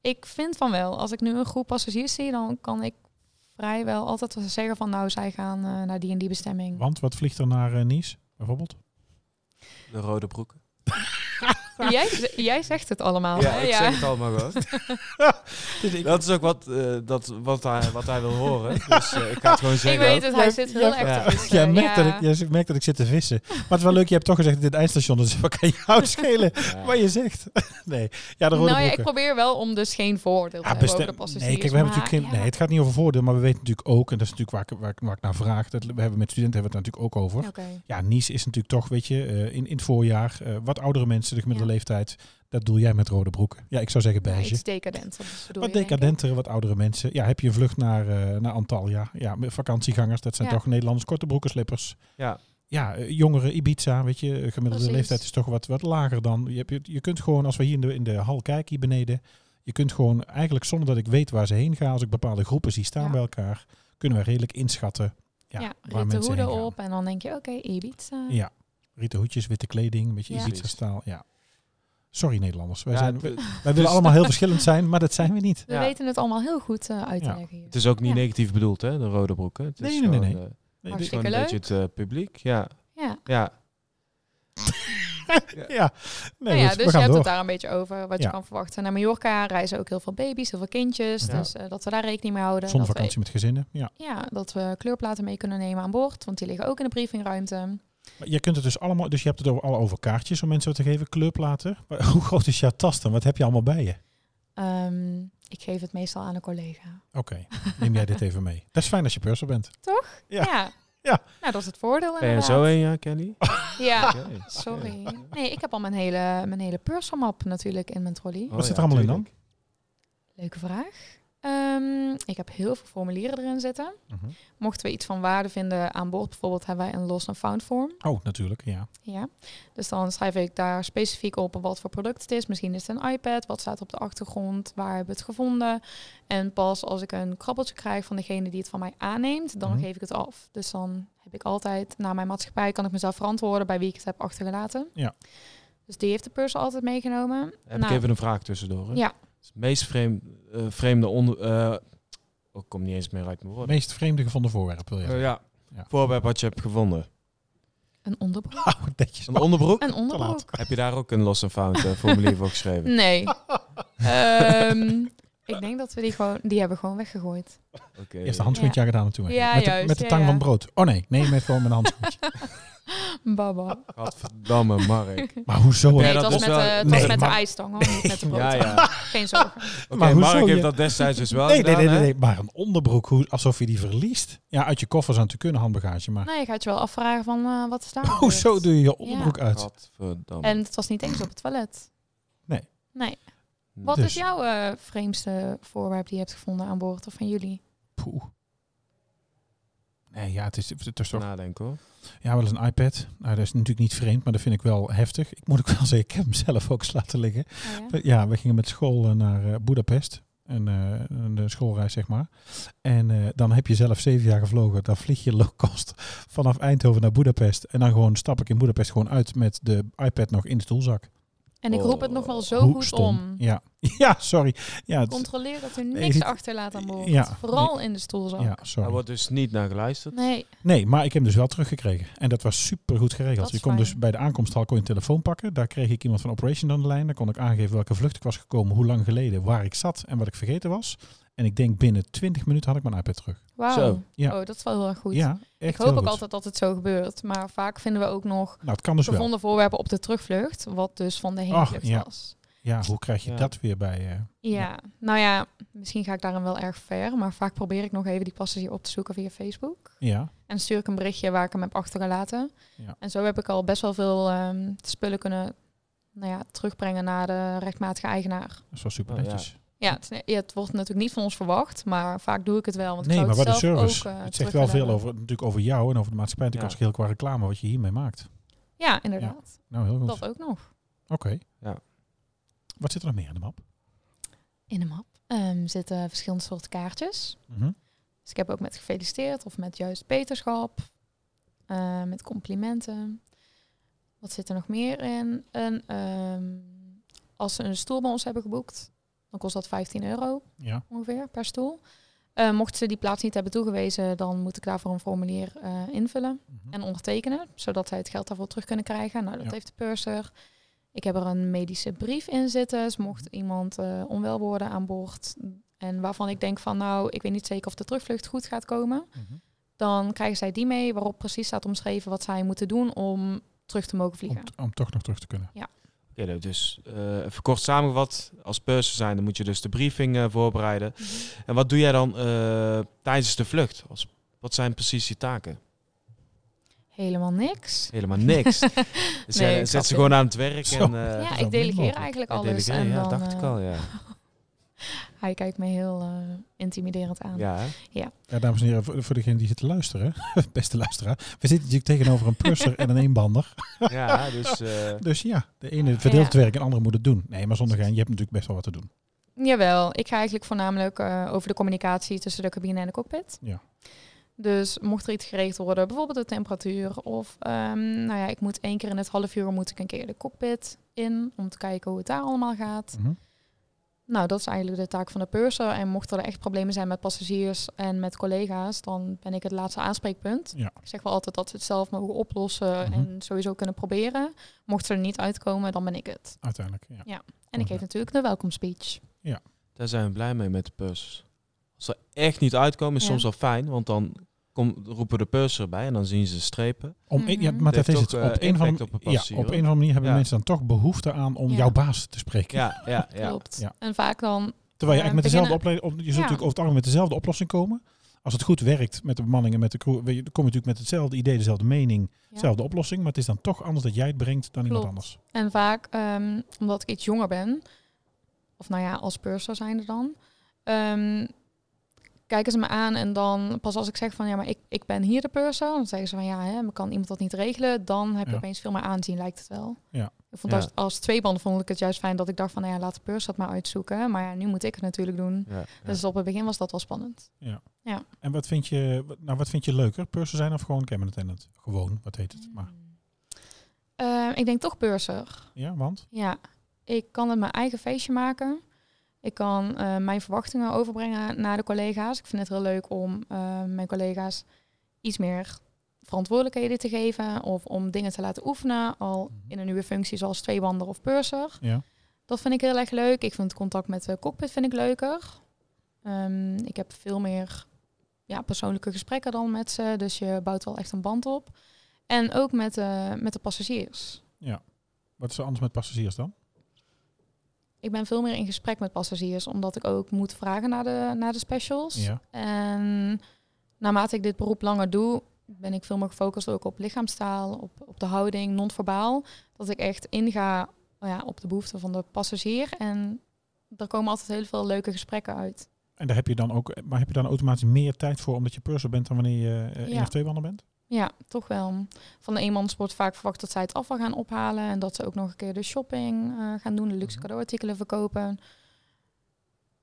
Ik vind van wel. Als ik nu een groep passagiers zie, dan kan ik vrijwel altijd wel zeggen van nou, zij gaan eh, naar die en die bestemming.
Want wat vliegt er naar eh, Nice
(laughs)
bijvoorbeeld?
De rode broeken.
Jij, z- jij zegt het allemaal.
Ja,
hè?
ik
Oh, ja.
zeg het allemaal (laughs)
(laughs)
gewoon. dat is ook wat, eh, dat, wat, hij, wat hij wil horen. (laughs) Dus eh, ik ga het gewoon
Ik
zeggen.
weet
ook.
het, hij
Jij-
zit
jij-
heel erg
ja.
te vissen.
Jij merkt,
eh, ja.
Dat ik, jij merkt dat ik zit te vissen. Maar het is wel leuk, je hebt toch gezegd dat dit eindstation is. (laughs) Dus wat kan jou schelen
Ja.
wat je zegt? (laughs) Nee, ja, de rode
Nou ja, ik
broeken.
probeer wel om dus geen voordeel te
Ja,
hebben
bestem-
over de passagiers.
nee, kijk, we hebben
maar
natuurlijk geen,
ja.
nee, het gaat niet over voordeel, maar we weten natuurlijk ook, en dat is natuurlijk waar ik, waar, ik- waar ik naar vraag, dat we hebben met studenten hebben we het natuurlijk ook over.
Oké.
Ja, Nice is natuurlijk toch, weet je, eh, in, in het voorjaar, eh, wat oudere mensen, de gemiddelde leeftijd, dat doe jij met rode broeken. Ja, ik zou zeggen
Ja,
beige.
iets decadent. dat bedoel
Wat
je, denk ik.
decadentere, wat oudere mensen. Ja, heb je een vlucht naar, eh, naar Antalya? Ja, met vakantiegangers, dat zijn
Ja.
toch Nederlanders, korte broeken, slippers.
Ja.
Ja, eh, jongeren, Ibiza, weet je, eh, gemiddelde
Precies.
leeftijd is toch wat, wat lager dan. Je, hebt, je, je kunt gewoon, als we hier in de, in de hal kijken, hier beneden, je kunt gewoon eigenlijk zonder dat ik weet waar ze heen gaan, als ik bepaalde groepen zie staan
Ja.
bij elkaar, kunnen we redelijk inschatten ja,
Ja,
waar
rieten
mensen heen
hoeden
gaan.
op en dan denk je, oké, Ibiza.
Ja. Rieten hoedjes, witte kleding, een beetje
Ja.
Ibiza-staal. Ja. Sorry Nederlanders, wij,
Ja,
zijn,
het-
wij, wij
dus-
willen
(laughs)
allemaal heel verschillend zijn, maar dat zijn we niet.
We
Ja.
weten het allemaal heel goed eh, uit te
Ja.
leggen hier.
Het is ook niet
Ja.
negatief bedoeld, hè, de rode broeken. Het
Nee,
is
nee, nee,
gewoon,
nee.
eh,
Nee,
Maar
dit-
gewoon een
Hartstikke Oh,
beetje het eh, publiek. Ja,
Ja.
ja.
dus, eh, ja, nee,
Nou ja,
goed,
dus
we
je
gaan
hebt
door.
het daar een beetje over, wat
Ja.
je kan verwachten. Naar Mallorca reizen ook heel veel baby's, heel veel kindjes.
Ja.
Dus eh, dat we daar rekening mee houden.
Zonder
dat we-
vakantie met gezinnen. Ja.
ja, dat we kleurplaten mee kunnen nemen aan boord. Want die liggen ook in de briefingruimte.
Maar je kunt het dus allemaal, dus je hebt het over, al over kaartjes om mensen wat te geven, kleurplaten. Maar (laughs) hoe groot is jouw tas dan? Wat heb je allemaal bij je?
Ehm, ik geef het meestal aan een collega.
Oké, neem jij dit even mee. Dat is fijn als je purser bent. Ja.
Ja.
Ja.
Nou, dat is het voordeel
Ben je
inderdaad.
zo een,
(laughs)
ja, Kelly?
Ja.
Oké.
Sorry. Nee, ik heb al mijn hele, mijn hele purselmap natuurlijk in mijn trolley.
Oh,
Wat zit
ja,
er allemaal in dan?
tuurlijk.
Leuke vraag. Ehm, ik heb heel veel formulieren erin zitten.
Mhm.
Mochten we iets van waarde vinden aan boord, bijvoorbeeld hebben wij een lost and found form.
Oh, natuurlijk, ja.
Ja. Dus dan schrijf ik daar specifiek op wat voor product het is. Misschien is het een iPad, wat staat op de achtergrond, waar hebben we het gevonden. En pas als ik een krabbeltje krijg van degene die het van mij aanneemt, dan
Mhm.
geef ik het af. Dus dan heb ik altijd, na mijn maatschappij kan ik mezelf verantwoorden bij wie ik het heb achtergelaten.
Ja.
Dus die heeft de purse altijd meegenomen.
Heb
Nou.
ik even een vraag tussendoor. Hè?
Ja.
Het meest vreemde, eh vreemde onder... eh, oh, ik kom niet eens meer uit mijn
Het
woorden.
meest vreemde gevonden voorwerp wil je
Eh,
zeggen.
ja.
Ja.
Voorwerp wat je hebt gevonden.
Een
(laughs)
onderbroek.
Oh, netjes.
Een
(laughs)
onderbroek?
Een onderbroek.
Heb je daar ook een lost and found
(laughs)
eh, formulier voor geschreven?
Nee. Ehm, ik denk dat we die gewoon, die hebben gewoon weggegooid.
Oké.
Eerst een handschoentje aangedaan en toen
Ja,
met, de-
juist,
met de
ja,
tang
ja.
van brood. Oh nee, nee, met gewoon met
(laughs)
een handschoentje.
Baba.
Gadverdamme, Mark.
(laughs)
maar hoezo?
Nee,
Ja,
het
dat
was
is
met,
wel-
de, het
Nee,
was met
maar-
de ijstang hoor, niet met de brood.
Ja, ja.
Geen zorgen.
Oké,
Maar hoezo
Mark
je-
heeft dat destijds dus wel
nee, nee,
gedaan,
nee, nee,
hè?
nee. Maar een onderbroek, hoe, alsof je die verliest. Ja, uit je koffers aan te kunnen, handbagage. Maar
(laughs) Nee, je gaat je wel afvragen van eh, wat is daar
oh,
gebeurd?
zo doe je je onderbroek uit.
Gadverdamme.
En het was niet eens op het toilet.
Nee.
Nee. Wat
Dus.
is jouw eh, vreemdste voorwerp die je hebt gevonden aan boord of van jullie?
Poeh. Nee, ja, het is, het is toch
Nadenken hoor.
Ja, wel eens een iPad. Nou, dat is natuurlijk niet vreemd, maar dat vind ik wel heftig. Ik moet ook wel (laughs) zeggen, ik heb hem zelf ook eens laten liggen.
Oh, ja.
Ja, we gingen met school eh, naar eh Budapest. Een, eh, een eh, schoolreis, zeg maar. En eh, dan heb je zelf zeven jaar gevlogen. Dan vlieg je low cost vanaf Eindhoven naar Budapest. En dan gewoon stap ik in Budapest gewoon uit met de iPad nog in de stoelzak.
En ik roep het
Oh,
nog wel zo
Hoe
goed
stom.
om.
Ja. (laughs) ja, sorry. Ja, het-
Controleer dat u
Nee,
niks
dit-
achterlaat aan boord.
Ja.
Vooral in de stoelzak.
ja,
Daar
sorry.
wordt dus niet naar geluisterd.
Nee,
Nee, maar ik heb hem dus wel teruggekregen. En dat was super goed geregeld.
Dat
Je
is
kon
fijn.
dus bij de aankomsthal kon je een telefoon pakken. Daar kreeg ik iemand van Operation aan de lijn. Daar kon ik aangeven welke vlucht ik was gekomen, hoe lang geleden, waar ik zat en wat ik vergeten was. En ik denk binnen 20 minuten had ik mijn iPad terug.
wauw.
Zo.
Ja.
Oh, dat is wel heel erg goed.
Ja, echt
ik hoop
heel
ook
goed.
altijd dat het zo gebeurt. Maar vaak vinden we ook nog
Nou, het kan dus wel.
gevonden voorwerpen op de terugvlucht. Wat dus van de heenvlucht
ja.
was.
Ja, hoe krijg je
Ja.
dat weer bij? eh,
Ja.
Ja.
nou ja, misschien ga ik daarin wel erg ver. Maar vaak probeer ik nog even die passagier op te zoeken via Facebook.
ja,
En stuur ik een berichtje waar ik hem heb achtergelaten.
Ja.
En zo heb ik al best wel veel ehm, spullen kunnen nou ja, terugbrengen naar de rechtmatige eigenaar.
dat is wel super
Oh, ja.
netjes.
Ja, het, is- ja, het wordt natuurlijk niet van ons verwacht, maar vaak doe ik het wel. Want
nee,
ik
maar
zou
wat een
het zelf
service.
ook, eh,
het zegt wel veel
terugbrengen.
over, natuurlijk over jou en over de maatschappij. Natuurlijk als
Ja.
geheel qua reclame wat je hiermee maakt.
Ja, inderdaad.
Nou, heel goed.
Dat
Oké.
ook nog.
Ja.
Wat zit er nog meer in de map?
In de map ehm, zitten verschillende soorten kaartjes.
Mhm.
Dus ik heb ook met gefeliciteerd of met juist beterschap. eh, met complimenten. Wat zit er nog meer in? En, ehm, als ze een stoel bij ons hebben geboekt, Dan kost dat 15 euro
Ja.
ongeveer per stoel. Eh, mocht ze die plaats niet hebben toegewezen, dan moet ik daarvoor een formulier eh, invullen
Mhm.
en ondertekenen, zodat zij het geld daarvoor terug kunnen krijgen. Nou, dat
Ja.
heeft de purser. Ik heb er een medische brief in zitten. Dus mocht iemand eh, onwel worden aan boord en waarvan ik denk van nou, ik weet niet zeker of de terugvlucht goed gaat komen,
Mhm.
dan krijgen zij die mee waarop precies staat omschreven wat zij moeten doen om terug te mogen
Om,
vliegen.
om toch nog terug te kunnen.
Oké, dus eh, even kort samengevat, als purser zijn, dan moet je dus de briefing eh, voorbereiden.
Mhm.
En wat doe jij dan eh, tijdens de vlucht? Als, wat zijn precies je taken?
Helemaal niks.
Helemaal
(laughs)
niks. Dus jij
ik snap
zet ze
het.
gewoon aan het werk
Zo.
en eh,
dat
Ja,
is
ik
wel
delegeer
mogelijk.
eigenlijk
ja,
alles.
delegeren.
en
ja,
dan,
dacht ik
eh,
al, ja.
Hij kijkt me heel eh, intimiderend aan.
ja hè?
Ja, dames en heren, voor, voor degenen die zitten luisteren, (laughs) beste luisteraar, we zitten natuurlijk tegenover een purser en een eenbander.
ja, dus... eh,
Dus ja, de ene verdeelt het
Ja.
werk en de andere moet het doen. Nee, maar zonder gein, je hebt natuurlijk best wel wat te doen.
Jawel, ik ga eigenlijk voornamelijk eh, over de communicatie tussen de cabine en de cockpit.
Ja.
Dus mocht er iets geregeld worden, bijvoorbeeld de temperatuur. Of ehm, nou ja, ik moet één keer in het half uur moet ik een keer de cockpit in om te kijken hoe het daar allemaal gaat.
Mhm.
Nou, dat is eigenlijk de taak van de purser. En mochten er echt problemen zijn met passagiers en met collega's, dan ben ik het laatste aanspreekpunt.
Ja.
Ik zeg wel altijd dat ze het zelf mogen oplossen
Mhm.
en sowieso kunnen proberen. Mocht ze er niet uitkomen, dan ben ik het.
Uiteindelijk, ja.
En
Mhm.
ik geef natuurlijk de welcome speech.
Daar zijn we blij mee met de pursers. Als ze echt niet uitkomen, is
Ja.
soms wel fijn, want dan kom, roepen de purser erbij en dan zien ze strepen.
Om een- ja
Mhm.
maar
Het
dat is
heeft
het.
ook,
Op
eh,
een, van,
impact op een
ja, op
passie,
een
hoor.
of andere manier hebben
Ja.
mensen dan toch behoefte aan om
Ja.
jouw baas te spreken.
Ja,
(laughs)
ja, ja.
Klopt.
Ja.
En vaak dan
Terwijl je
Ja,
eigenlijk met dezelfde
beginnen-
opleiding, op, je zult
Ja.
natuurlijk over het algemeen met dezelfde oplossing komen. Als het goed werkt met de bemanning en met de crew, weet je, dan kom je natuurlijk met hetzelfde idee, dezelfde mening,
Ja.
dezelfde oplossing. Maar het is dan toch anders dat jij het brengt dan iemand
Klopt.
anders.
En vaak, ehm, omdat ik iets jonger ben, of nou ja, als purser zijn er dan, ehm, kijken ze me aan en dan pas als ik zeg van ja, maar ik, ik ben hier de purser, dan zeggen ze van ja, hè, maar kan iemand dat niet regelen, dan heb je
Ja.
opeens veel meer aanzien, lijkt het wel.
Ja.
Ik vond
Ja.
als, als tweeband vond ik het juist fijn dat ik dacht van nou ja, laat de purser dat maar uitzoeken, maar ja, nu moet ik het natuurlijk doen.
Ja, ja.
Dus op het begin was dat wel spannend.
En wat vind je, wat- nou, wat vind je leuker? Purser zijn of gewoon cabin attendant? Gewoon, wat heet
Mm.
het? Maar,
Ehm, ik denk toch purser.
ja, want?
Ja, ik kan het mijn eigen feestje maken. Ik kan eh, mijn verwachtingen overbrengen naar de collega's. Ik vind het heel leuk om eh, mijn collega's iets meer verantwoordelijkheden te geven of om dingen te laten oefenen, al
Mhm.
in een nieuwe functie zoals tweebander of purser.
Ja.
Dat vind ik heel erg leuk. Ik vind het contact met de cockpit vind ik leuker. Ehm, ik heb veel meer ja, persoonlijke gesprekken dan met ze, dus je bouwt wel echt een band op. En ook met, eh, met de passagiers.
Wat is er anders met passagiers dan?
Ik ben veel meer in gesprek met passagiers, omdat ik ook moet vragen naar de, naar de specials.
Ja.
En naarmate ik dit beroep langer doe, ben ik veel meer gefocust ook op lichaamstaal, op, op de houding, non-verbaal. Dat ik echt inga nou ja, op de behoeften van de passagier. En er komen altijd heel veel leuke gesprekken uit.
En daar heb je dan ook, maar heb je dan automatisch meer tijd voor omdat je purser bent dan wanneer je eh, één
Ja.
of twee banden bent?
Ja, toch wel. Van de eenmans wordt vaak verwacht dat zij het afval gaan ophalen. En dat ze ook nog een keer de shopping eh, gaan doen, de luxe
Mhm.
cadeauartikelen verkopen.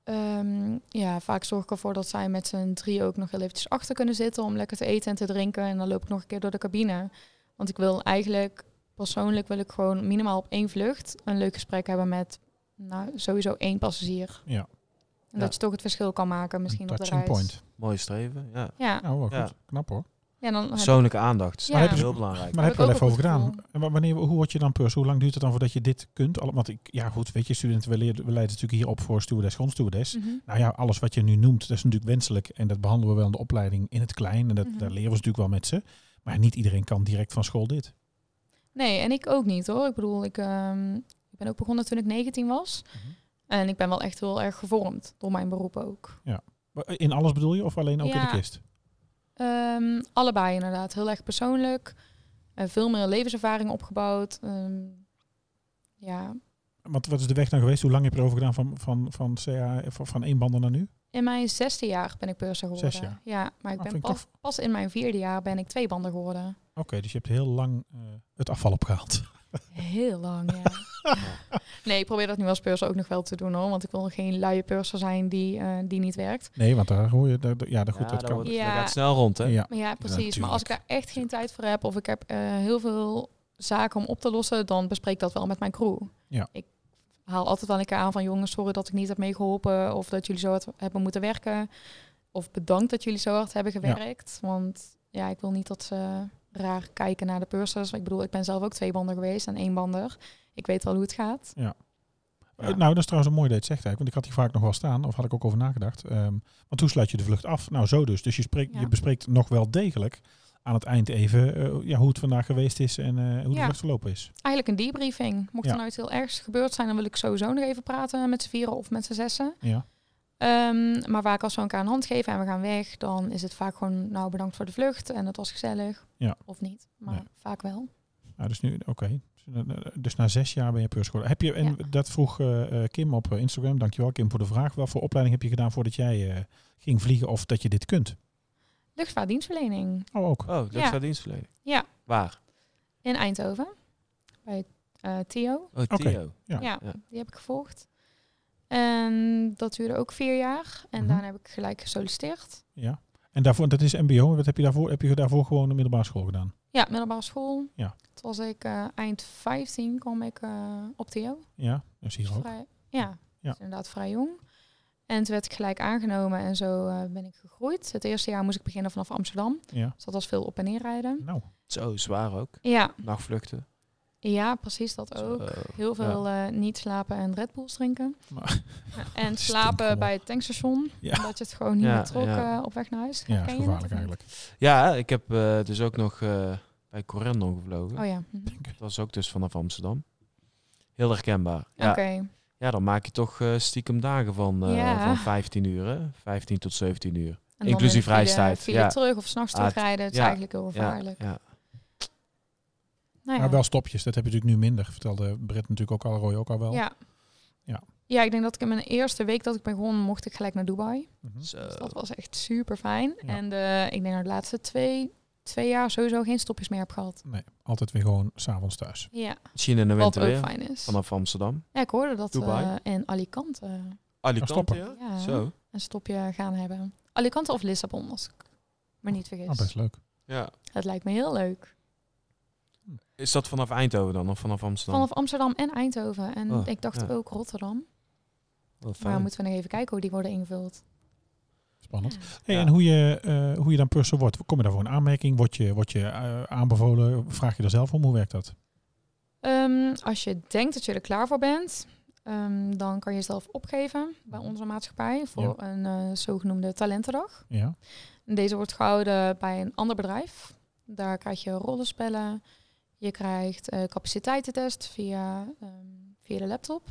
Ehm, ja, vaak zorg ik ervoor dat zij met z'n drie ook nog heel eventjes achter kunnen zitten om lekker te eten en te drinken. En dan loop ik nog een keer door de cabine. Want ik wil eigenlijk, persoonlijk wil ik gewoon minimaal op één vlucht een leuk gesprek hebben met nou, sowieso één passagier.
Ja.
Ja.
En dat je toch het verschil kan maken misschien
Een
op de
touching
reis.
point.
Mooi streven, ja.
Ja,
Nou, wel goed.
Ja.
Knap hoor.
ja dan heb
Persoonlijke aandacht,
Ja. Maar
is
heb je-
heel belangrijk.
Maar daar
Heb
heb je
ik
wel
ook
even over
een goed
gedaan. En wa- wanneer, hoe word je dan purser? Hoe lang duurt het dan voordat je dit kunt? Alle- Want ik, ja goed, weet je, studenten, we, leren, we leiden natuurlijk hier op voor stewardess, grondstewardess.
Mhm.
Nou ja, alles wat je nu noemt, dat is natuurlijk wenselijk. En dat behandelen we wel in de opleiding in het klein. En dat,
Mhm.
daar leren we ze natuurlijk wel met ze. Maar niet iedereen kan direct van school dit.
Nee, en ik ook niet hoor. Ik bedoel, ik, ehm, ik ben ook begonnen toen ik 19 was.
Mhm.
En ik ben wel echt heel erg gevormd door mijn beroep ook.
Maar eh, In alles bedoel je? Of alleen ook in
Ja.
de kist?
Ehm, allebei inderdaad. Heel erg persoonlijk. Eh, veel meer levenservaring opgebouwd. Ehm, ja,
Want wat is de weg dan geweest? Hoe lang heb je erover gedaan van, van, van, CA, van, van één banden naar nu?
in mijn zesde jaar ben ik purser geworden.
Zes jaar.
Ja, maar ik
Ah,
ben
vind ik
pas, pas in mijn vierde jaar ben ik twee banden geworden.
Oké, dus je hebt heel lang eh, het afval opgehaald. (laughs)
Heel lang, ja. (laughs) Nee, ik probeer dat nu als purser ook nog wel te doen hoor. Want ik wil geen luie purser zijn die, eh, die niet werkt.
Nee, want daar hoor je... Daar, daar- ja, daar goed,
Ja,
dat
dan
kan.
wordt-
Ja.
dan gaat het snel rond, hè?
Ja.
Maar Ja, precies. maar als ik daar
tuurlijk.
echt geen tijd voor heb of ik heb eh, heel veel zaken om op te lossen, dan bespreek ik dat wel met mijn crew.
Ja.
Ik haal altijd wel een keer aan van jongens, sorry dat ik niet heb meegeholpen of dat jullie zo hard hebben moeten werken. Of bedankt dat jullie zo hard hebben gewerkt. Want ja, ik wil niet dat ze raar kijken naar de pursers. Ik bedoel, ik ben zelf ook tweebander geweest en éénbander. Ik weet wel hoe het gaat.
Eh,
Ja.
Nou, dat is trouwens een mooi dat je het zegt eigenlijk. Want ik had die vaak nog wel staan, of had ik ook over nagedacht. Ehm, want hoe sluit je de vlucht af? Nou, zo dus. Dus je, spreekt,
Ja.
je bespreekt nog wel degelijk aan het eind even eh, ja, hoe het vandaag geweest is en eh, hoe de
Ja.
vlucht verlopen is.
Eigenlijk een debriefing. Mocht
Ja.
er nou iets heel ergs gebeurd zijn, dan wil ik sowieso nog even praten met z'n vieren of met z'n zessen.
Ja.
Ehm, maar vaak als we elkaar een hand geven en we gaan weg, dan is het vaak gewoon nou bedankt voor de vlucht en het was gezellig.
Ja.
Of niet, maar
Nee.
vaak wel.
Nou, dus nu, oké. Dus, eh, Dus na zes jaar ben je peurs geworden. Heb je, en
Ja.
dat vroeg eh, eh, Kim op eh, Instagram. Dankjewel Kim voor de vraag. Wat voor opleiding heb je gedaan voordat jij eh, ging vliegen of dat je dit kunt?
Luchtvaartdienstverlening
Oh, ook.
Oh, dat
Ja.
zou dienstverlening.
Ja.
Waar?
in Eindhoven bij eh Theo.
Oh,
Oké.
Theo.
Ja.
Ja.
Ja.
die heb ik gevolgd. En dat duurde ook vier jaar. En
Mhm.
daarna heb ik gelijk gesolliciteerd.
Ja. En daarvoor, dat is mbo. Wat heb je daarvoor? Heb je daarvoor gewoon de middelbare school gedaan?
Ja, middelbare school.
Ja.
Toen was ik eh, eind 15 kwam ik eh, op Theo.
Ja, dus
Dus
hier ook.
vrij- ja,
Ja.
dus inderdaad vrij jong. En toen werd ik gelijk aangenomen en zo eh, ben ik gegroeid. Het eerste jaar moest ik beginnen vanaf Amsterdam.
Ja.
Dus dat was veel op en neer rijden.
Nou,
Zo zwaar ook.
Ja,
Nachtvluchten.
ja precies dat
Zo.
ook. Heel veel eh, niet slapen en Red Bulls drinken.
Maar-
Ja,
(laughs)
en slapen
allemaal.
bij het tankstation.
Ja.
Omdat je het gewoon niet
Ja,
meer trok
ja.
eh, op weg naar huis.
ja, is
Ken je dat of
gevaarlijk
niet?
eigenlijk.
Ja, ik heb eh, dus ook nog eh, bij Corendon gevlogen.
Oh ja. mhm.
Dat was ook dus vanaf Amsterdam. Heel herkenbaar. Ja,
Oké.
ja dan maak je toch eh, stiekem dagen van, eh,
Ja.
van 15 uur. Hè? 15 tot 17 uur.
En
Inclusief
dan in de file-
reistijd,
file
ja.
terug of s'nachts
Ah,
terugrijden. Het is
ja,
eigenlijk heel gevaarlijk.
Ja, ja.
Nou ja.
Maar wel stopjes, dat heb je natuurlijk nu minder. Vertelde Britt natuurlijk ook al, Roy ook al wel.
Ja.
Ja.
Ja, ik denk dat ik in mijn eerste week dat ik ben begonnen, mocht ik gelijk naar Dubai.
Mhm.
Zo.
Dus dat was echt super fijn.
Ja.
En de, ik denk dat de laatste twee, twee jaar sowieso geen stopjes meer heb gehad.
Nee, altijd weer gewoon s'avonds thuis.
Ja,
Misschien in de
wat
winter
ook
weer.
fijn is.
Vanaf Amsterdam.
Ja, ik hoorde dat
Dubai.
eh, in Alicante
Alicante,
stoppen.
ja?
Ja.
Zo.
een stopje gaan hebben. Alicante of Lissabon, als ik me niet
Oh,
vergis.
best leuk.
Ja.
Het lijkt me heel leuk.
Is dat vanaf Eindhoven dan of vanaf Amsterdam?
Vanaf Amsterdam en Eindhoven. En
Oh,
ik dacht
ja.
ook Rotterdam.
Wel fijn.
Maar moeten we nog even kijken hoe die worden ingevuld.
Spannend.
Ja.
Hey,
Ja.
En hoe je, eh, hoe je dan purser wordt, kom je daarvoor in aanmerking? Word je, word je eh, aanbevolen? Vraag je er zelf om? Hoe werkt dat?
Ehm, als je denkt dat je er klaar voor bent, ehm, dan kan je jezelf opgeven bij onze maatschappij voor een eh, zogenoemde talentendag.
Ja,
En Deze wordt gehouden bij een ander bedrijf. Daar krijg je rollenspellen, je krijgt eh, capaciteitentest via, ehm, via de laptop.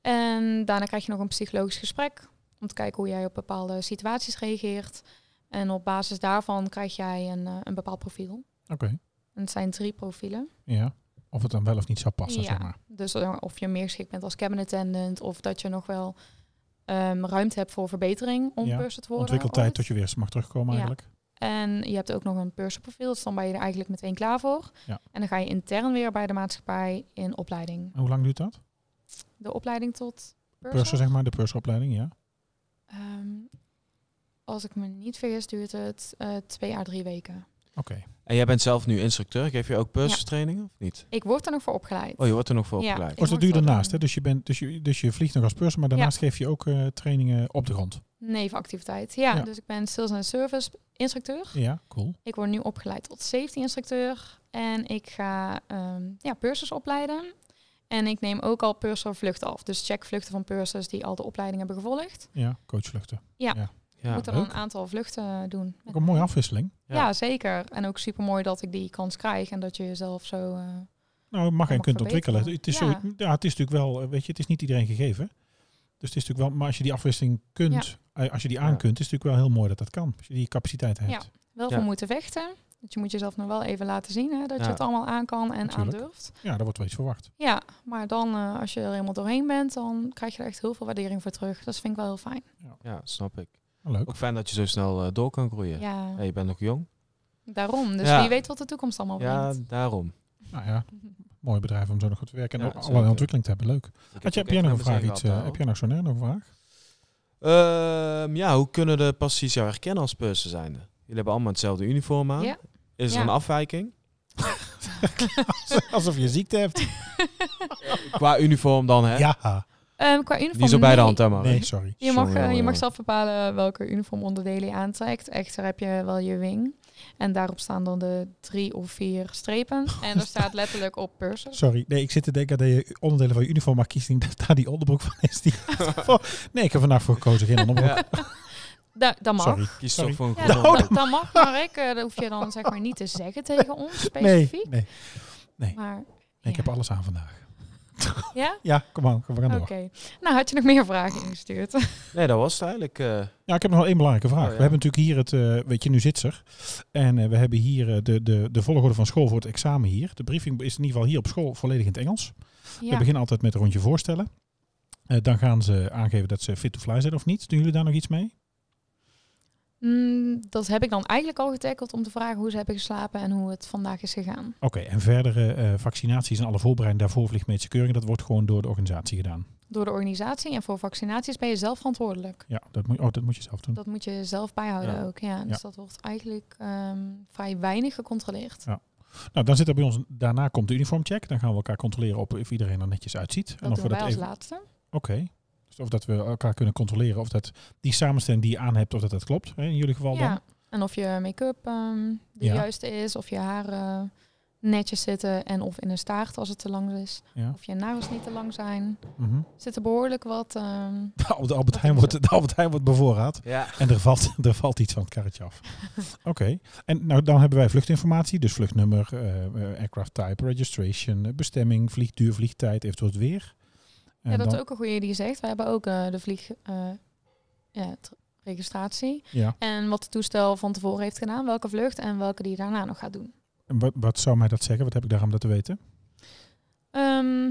En daarna krijg je nog een psychologisch gesprek om te kijken hoe jij op bepaalde situaties reageert. En op basis daarvan krijg jij een, eh, een bepaald profiel.
oké.
En het zijn drie profielen.
Ja. Of het dan wel of niet zou passen,
Ja.
zeg maar.
Dus eh, of je meer geschikt bent als cabin attendant of dat je nog wel ehm, ruimte hebt voor verbetering om
Ja,
purser te worden.
Ontwikkeltijd
eh, ooit.
tot je weer eens mag terugkomen
Ja.
eigenlijk.
En je hebt ook nog een purserprofiel, dus dan ben je er eigenlijk meteen klaar voor.
Ja.
En dan ga je intern weer bij de maatschappij in opleiding.
En hoe lang duurt dat?
De opleiding tot purser?
Purser, zeg maar, de purseropleiding, ja.
Ehm, als ik me niet vergis duurt het eh, twee à drie weken.
Oké.
En jij bent zelf nu instructeur. Geef je ook purserstrainingen of niet?
Ik word er nog voor opgeleid.
Oh, je wordt er nog voor
Ja.
opgeleid.
Ik
Oh, dus dat
word
doe je
wel
daarnaast, hè?
dan-
Dus je, bent, dus, je, dus je vliegt nog als purser, maar daarnaast geef je ook eh, trainingen op de grond.
Nevenactiviteit. Ja,
Ja.
dus ik ben sales en service instructeur.
Ja, cool.
Ik word nu opgeleid tot safety instructeur en ik ga ehm ja, pursers opleiden. En ik neem ook al purser vluchten af. Dus check vluchten van pursers die al de opleiding hebben gevolgd.
Ja, coachvluchten.
Ik
Ja.
moet er dan
leuk.
een aantal vluchten eh, doen.
Ook een mooie afwisseling.
Ja.
Ja. zeker. En ook super mooi dat ik die kans krijg en dat je jezelf zo. eh,
Nou, je mag en
mag
kunt
verbeteren.
ontwikkelen. Het is,
Ja.
Zo, ja, het is natuurlijk wel, eh, weet je, het is niet iedereen gegeven. Dus het is natuurlijk wel, maar als je die afwisseling kunt, eh, als je die aan
Ja.
kunt, is het natuurlijk wel heel mooi dat dat kan. Als je die capaciteit hebt.
Ja. wel
Ja.
voor moeten vechten. Dus je moet jezelf nog wel even laten zien hè, dat
Ja.
je het allemaal aan kan en
Natuurlijk.
aandurft.
Ja, daar wordt wel iets verwacht.
Ja, maar dan eh, als je er helemaal doorheen bent, dan krijg je er echt heel veel waardering voor terug. Dat vind ik wel heel fijn.
ja, snap ik.
Nou, Leuk.
Ook fijn dat je zo snel eh, door kan groeien.
Ja,
Ja, je bent nog jong.
daarom. Dus
Ja.
wie weet wat de toekomst allemaal
Ja,
brengt.
daarom.
Nou ja, mooi bedrijf om zo nog goed te werken en
Ja,
ook allerlei
zeker.
ontwikkeling te hebben. Leuk.
Ik
Had je,
ook
heb jij nog een
echt mijn
vraag?
zin
Iets,
gehad
eh, heb
daar
jij nog zo'n nog een
(laughs)
vraag?
al. Ehm, ja, hoe kunnen de passies jou herkennen als purser zijnde? Jullie hebben allemaal hetzelfde uniform aan.
Ja.
Is er
Ja.
een afwijking?
Alsof je ziekte hebt.
Qua uniform dan, hè?
(laughs) Ja.
Ehm, qua uniform
Niet zo bij de
nee.
hand, hè, maar.
Nee, sorry.
Je mag,
Sorry,
eh, je
jongen.
mag zelf bepalen welke uniformonderdelen je aantrekt. Echter heb je wel je wing. En daarop staan dan de drie of vier
(laughs)
strepen. En er staat letterlijk op purses.
Sorry. Nee, ik zit te denken dat je onderdelen van je uniform mag kiezen. (laughs) Dat daar die onderbroek van is.
(laughs)
Die nee, ik heb vandaag voor gekozen. Geen onderbroek.
Ja,
Da dat mag.
Sorry. Nou,
kies
Sorry. Oh,
toch voor een
Ja,
goede
dat,
man.
dat- dat mag, maar ik. eh, dat hoef je dan zeg maar niet te zeggen tegen ons
Nee,
specifiek.
nee. nee,
Maar
ik heb alles aan vandaag.
ja,
Ja, kom aan. We gaan
oké.
door.
Nou, had je nog meer vragen ingestuurd?
Nee, dat was het eigenlijk. eh,
Ja, ik heb nog wel één belangrijke vraag.
Oh, ja.
We hebben natuurlijk hier het, eh, weet je, nu zit ze er. En eh, we hebben hier eh, de, de, de volgorde van school voor het examen hier. De briefing is in ieder geval hier op school volledig in het Engels. We
(laughs) ja.
beginnen altijd met een rondje voorstellen. Eh, dan gaan ze aangeven dat ze fit to fly zijn of niet. Doen jullie daar nog iets mee?
Mm, dat heb ik dan eigenlijk al getackeld om te vragen hoe ze hebben geslapen en hoe het vandaag is gegaan.
Oké, en verdere eh, vaccinaties en alle voorbereiding daarvoor vliegmedische keuring, dat wordt gewoon door de organisatie gedaan.
Door de organisatie en voor vaccinaties ben je zelf verantwoordelijk.
Ja, dat moet, oh, dat moet je zelf doen.
Dat moet je zelf bijhouden
Ja.
ook. Ja. Dus
Ja.
dat wordt eigenlijk ehm, vrij weinig gecontroleerd.
Nou, dan zit er bij ons, daarna komt de uniformcheck. Dan gaan we elkaar controleren op of iedereen er netjes uitziet.
Dat
of we
doen wij als
even-
laatste.
Oké. Dus of dat we elkaar kunnen controleren of dat die samenstelling die je aan hebt, of dat dat klopt. Hè, in jullie geval dan.
Ja. En of je make-up ehm, de
Ja.
juiste is, of je haren netjes zitten en of in een staart als het te lang is.
Ja.
Of je nagels niet te lang zijn.
Mhm. (laughs)
Zit er behoorlijk wat. ehm,
Nou, de, Albert Heijn wordt, de Albert Heijn wordt bevoorraad.
ja.
En er valt, (laughs) er valt iets van het karretje af. Oké. En nou, dan hebben wij vluchtinformatie. Dus vluchtnummer, eh, eh, aircraft type, registration, eh, bestemming, vliegduur, vliegtijd, eventueel het weer. En
ja, dat
dan-
is ook een goede die je zegt. We hebben ook eh, de vlieg. eh, ja, t- registratie.
Ja.
En wat het toestel van tevoren heeft gedaan, welke vlucht en welke die daarna nog gaat doen.
En wat, wat zou mij dat zeggen? Wat heb ik daar om dat te weten?
Ehm,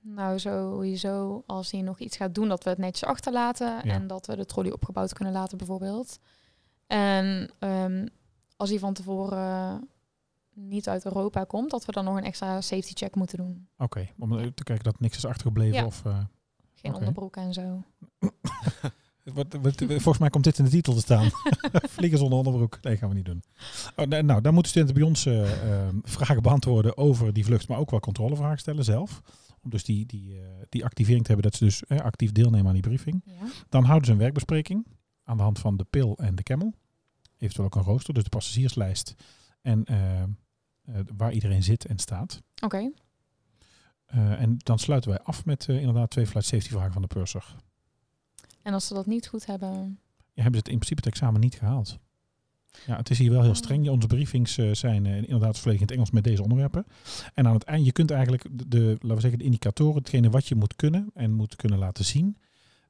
nou, sowieso als hij nog iets gaat doen, dat we het netjes achterlaten. En dat we de trolley opgebouwd kunnen laten, bijvoorbeeld. En ehm, als hij van tevoren eh, niet uit Europa komt, dat we dan nog een extra safety check moeten doen.
Oké. Om eh, te kijken dat niks is achtergebleven.
Ja.
Of, eh,
Geen
Oké.
onderbroek en zo.
Wat, wat- volgens mij komt dit in de titel te staan. Vliegen zonder onderbroek. Nee, gaan we niet doen. Oh, nee, nou, dan moeten studenten bij ons eh, eh, vragen beantwoorden over die vlucht, maar ook wel controlevragen stellen zelf. Om dus die, die, eh, die activering te hebben dat ze dus eh, actief deelnemen aan die briefing.
Ja.
Dan houden ze een werkbespreking aan de hand van de pil en de camel. Eventueel ook een rooster, dus de passagierslijst. En eh, eh, waar iedereen zit en staat.
Oké,
Eh, en dan sluiten wij af met eh, inderdaad twee flight safety vragen van de purser.
en als ze dat niet goed hebben...
ja, hebben ze het in principe het examen niet gehaald. Ja, het is hier wel heel streng. Ja, Onze briefings eh, zijn eh, inderdaad volledig in het Engels met deze onderwerpen. En aan het eind, je kunt eigenlijk de, de, laten we zeggen, de indicatoren, hetgene wat je moet kunnen en moet kunnen laten zien,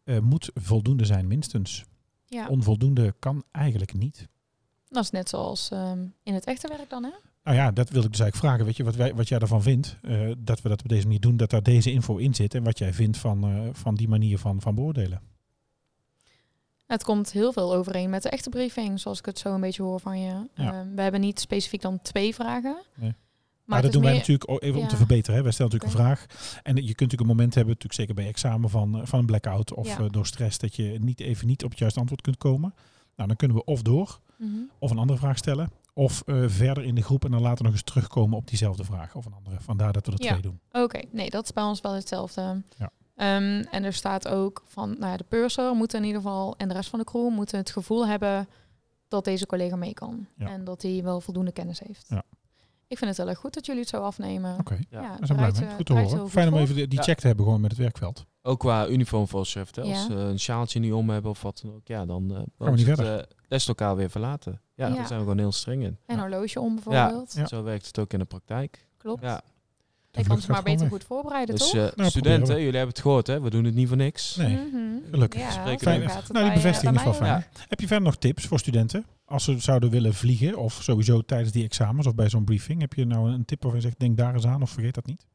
eh, moet voldoende zijn minstens.
Ja,
Onvoldoende kan eigenlijk niet.
dat is net zoals ehm, in het echte werk dan, hè?
Nou ja, dat wil ik dus eigenlijk vragen. Weet je, wat, wij, wat jij daarvan vindt, eh, dat we dat op deze manier doen, dat daar deze info in zit en wat jij vindt van, eh, van die manier van, van beoordelen.
Het komt heel veel overeen met de echte briefing, zoals ik het zo een beetje hoor van je.
Ja.
Ehm, we hebben niet specifiek dan twee vragen.
Nee.
Maar,
Maar,
het
dat doen
is
wij
meer
natuurlijk ook even om
ja.
te verbeteren. Hè. Wij stellen natuurlijk
Oké.
een vraag. En je kunt natuurlijk een moment hebben, natuurlijk zeker bij examen van, eh, van een blackout of
Ja.
eh, door stress, dat je niet even niet op het juiste antwoord kunt komen. Nou, dan kunnen we of door,
Mhm.
of een andere vraag stellen, of eh, verder in de groep en dan later nog eens terugkomen op diezelfde vraag of een andere. Vandaar dat we er
Ja.
twee doen.
Oké, nee, dat is bij ons wel hetzelfde.
Ja.
Ehm, en er staat ook van, nou ja, de purser moet in ieder geval en de rest van de crew moeten het gevoel hebben dat deze collega mee kan.
Ja.
En dat hij wel voldoende kennis heeft.
Ja.
Ik vind het heel erg goed dat jullie het zo afnemen.
Oké,
Ja.
daar zijn we blij
draait,
mee.
eh,
Goed te
draait
horen.
heel
Fijn om
goed
even die die
Ja.
check te hebben gewoon met het werkveld.
Ook qua uniform voor chef, hè. Als
Ja.
ze een sjaaltje niet om hebben of wat dan ook, ja, dan eh
we niet
is het, eh, leslokaal weer verlaten. Ja,
Ja.
daar zijn we gewoon heel streng in.
En horloge om bijvoorbeeld.
Ja.
Zo werkt het ook in de praktijk.
Klopt.
Ja.
Ik
vlucht
kan ze maar
gaat
beter
gewoon
goed voorbereiden,
Dus
toch?
eh,
proberen
studenten,
we.
jullie hebben het gehoord, hè? We doen het niet voor niks.
Nou, Nee,
Mhm.
gelukkig.
Ja,
Spreken
zo
we.
gaat
Nou, die
het bij, eh,
bevestiging is
bij
wel
mij
fijn.
ook.
Heb je verder nog tips voor studenten? Als ze zouden willen vliegen of sowieso tijdens die examens of bij zo'n briefing. Heb je nou een tip waarvan je zegt, denk daar eens aan of vergeet dat niet?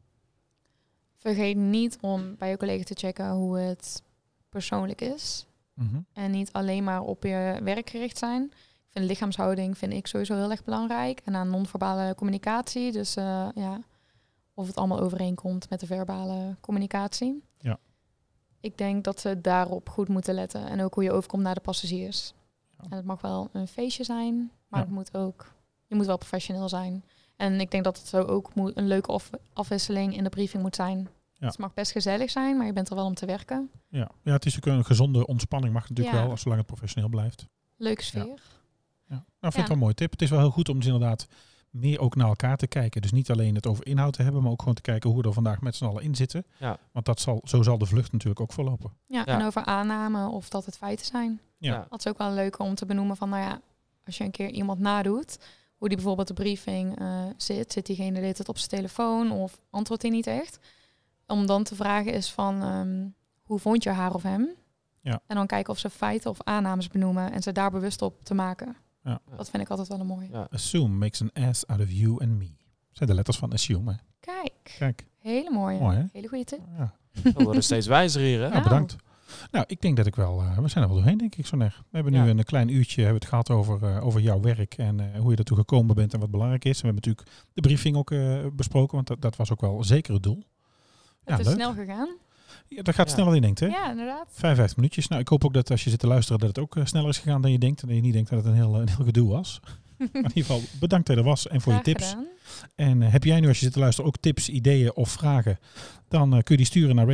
Vergeet niet om bij je collega te checken hoe het persoonlijk is.
Mhm.
En niet alleen maar op je werk gericht zijn. Ik vind lichaamshouding vind ik sowieso heel erg belangrijk. En aan non-verbale communicatie. Dus eh, ja, of het allemaal overeenkomt met de verbale communicatie.
Ja.
Ik denk dat ze daarop goed moeten letten. En ook hoe je overkomt naar de passagiers. En het mag wel een feestje zijn, maar
Ja.
het moet ook... Je moet wel professioneel zijn. En ik denk dat het zo ook moet, een leuke af- afwisseling in de briefing moet zijn. Dus
Ja.
Het mag best gezellig zijn, maar je bent er wel om te werken.
Ja. ja, het is natuurlijk een gezonde ontspanning, mag natuurlijk
Ja.
wel, als zolang het professioneel blijft.
Leuke sfeer.
Ja. Nou, vind
Ja.
ik wel een mooie tip. Het is wel heel goed om dus inderdaad meer ook naar elkaar te kijken. Dus niet alleen het over inhoud te hebben, maar ook gewoon te kijken hoe we er vandaag met z'n allen in zitten.
Ja.
Want dat zal, zo zal de vlucht natuurlijk ook verlopen.
Ja,
Ja.
En over aanname of dat het feiten zijn.
Ja.
Ja.
Dat is ook wel leuk om te benoemen van, nou ja, als je een keer iemand nadoet, hoe die bijvoorbeeld de briefing eh, zit, zit diegene de hele tijd op zijn telefoon of antwoordt hij niet echt. Om dan te vragen is van, ehm, hoe vond je haar of hem?
Ja.
En dan kijken of ze feiten of aannames benoemen en ze daar bewust op te maken.
Ja.
Dat vind ik altijd wel een mooie.
Ja.
Assume makes an ass out of you and me. Zijn de letters van assume, hè?
Kijk,
Kijk,
hele mooie.
mooi hè?
Hele goede tip.
Ja.
We worden steeds wijzer hier, hè?
Nou, bedankt. Nou, ik denk dat ik wel... eh, we zijn er wel doorheen, denk ik, zo net. We hebben nu
Ja.
een klein uurtje hebben we het gehad over, eh, over jouw werk en eh, hoe je daartoe gekomen bent en wat belangrijk is. En we hebben natuurlijk de briefing ook eh, besproken, want dat, dat was ook wel zeker het doel. Ja,
het is
leuk.
snel gegaan.
Ja, dat gaat
Ja.
sneller dan je denkt, hè?
Ja, inderdaad.
55 minuutjes. Nou, ik hoop ook dat als je zit te luisteren dat het ook eh, sneller is gegaan dan je denkt. En dat je niet denkt dat het een heel, een heel gedoe was. Maar in ieder geval, bedankt dat je er was en voor
Graag
je tips.
gedaan.
En eh, heb jij nu als je zit te luisteren ook tips, ideeën of vragen? Dan eh, kun je die sturen naar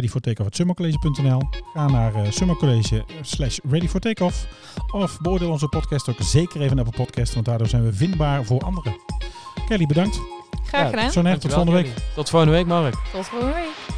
readyfortakeoff.summercollege.nl. Ga naar eh, summercollege slash readyfortakeoff. Of beoordeel onze podcast ook zeker even naar Apple Podcast. Want daardoor zijn we vindbaar voor anderen. Kelly, bedankt.
Graag
Ja,
gedaan.
Zo net, tot
Dankjewel,
volgende week.
Kelly. Tot volgende week, Mark.
Tot volgende week.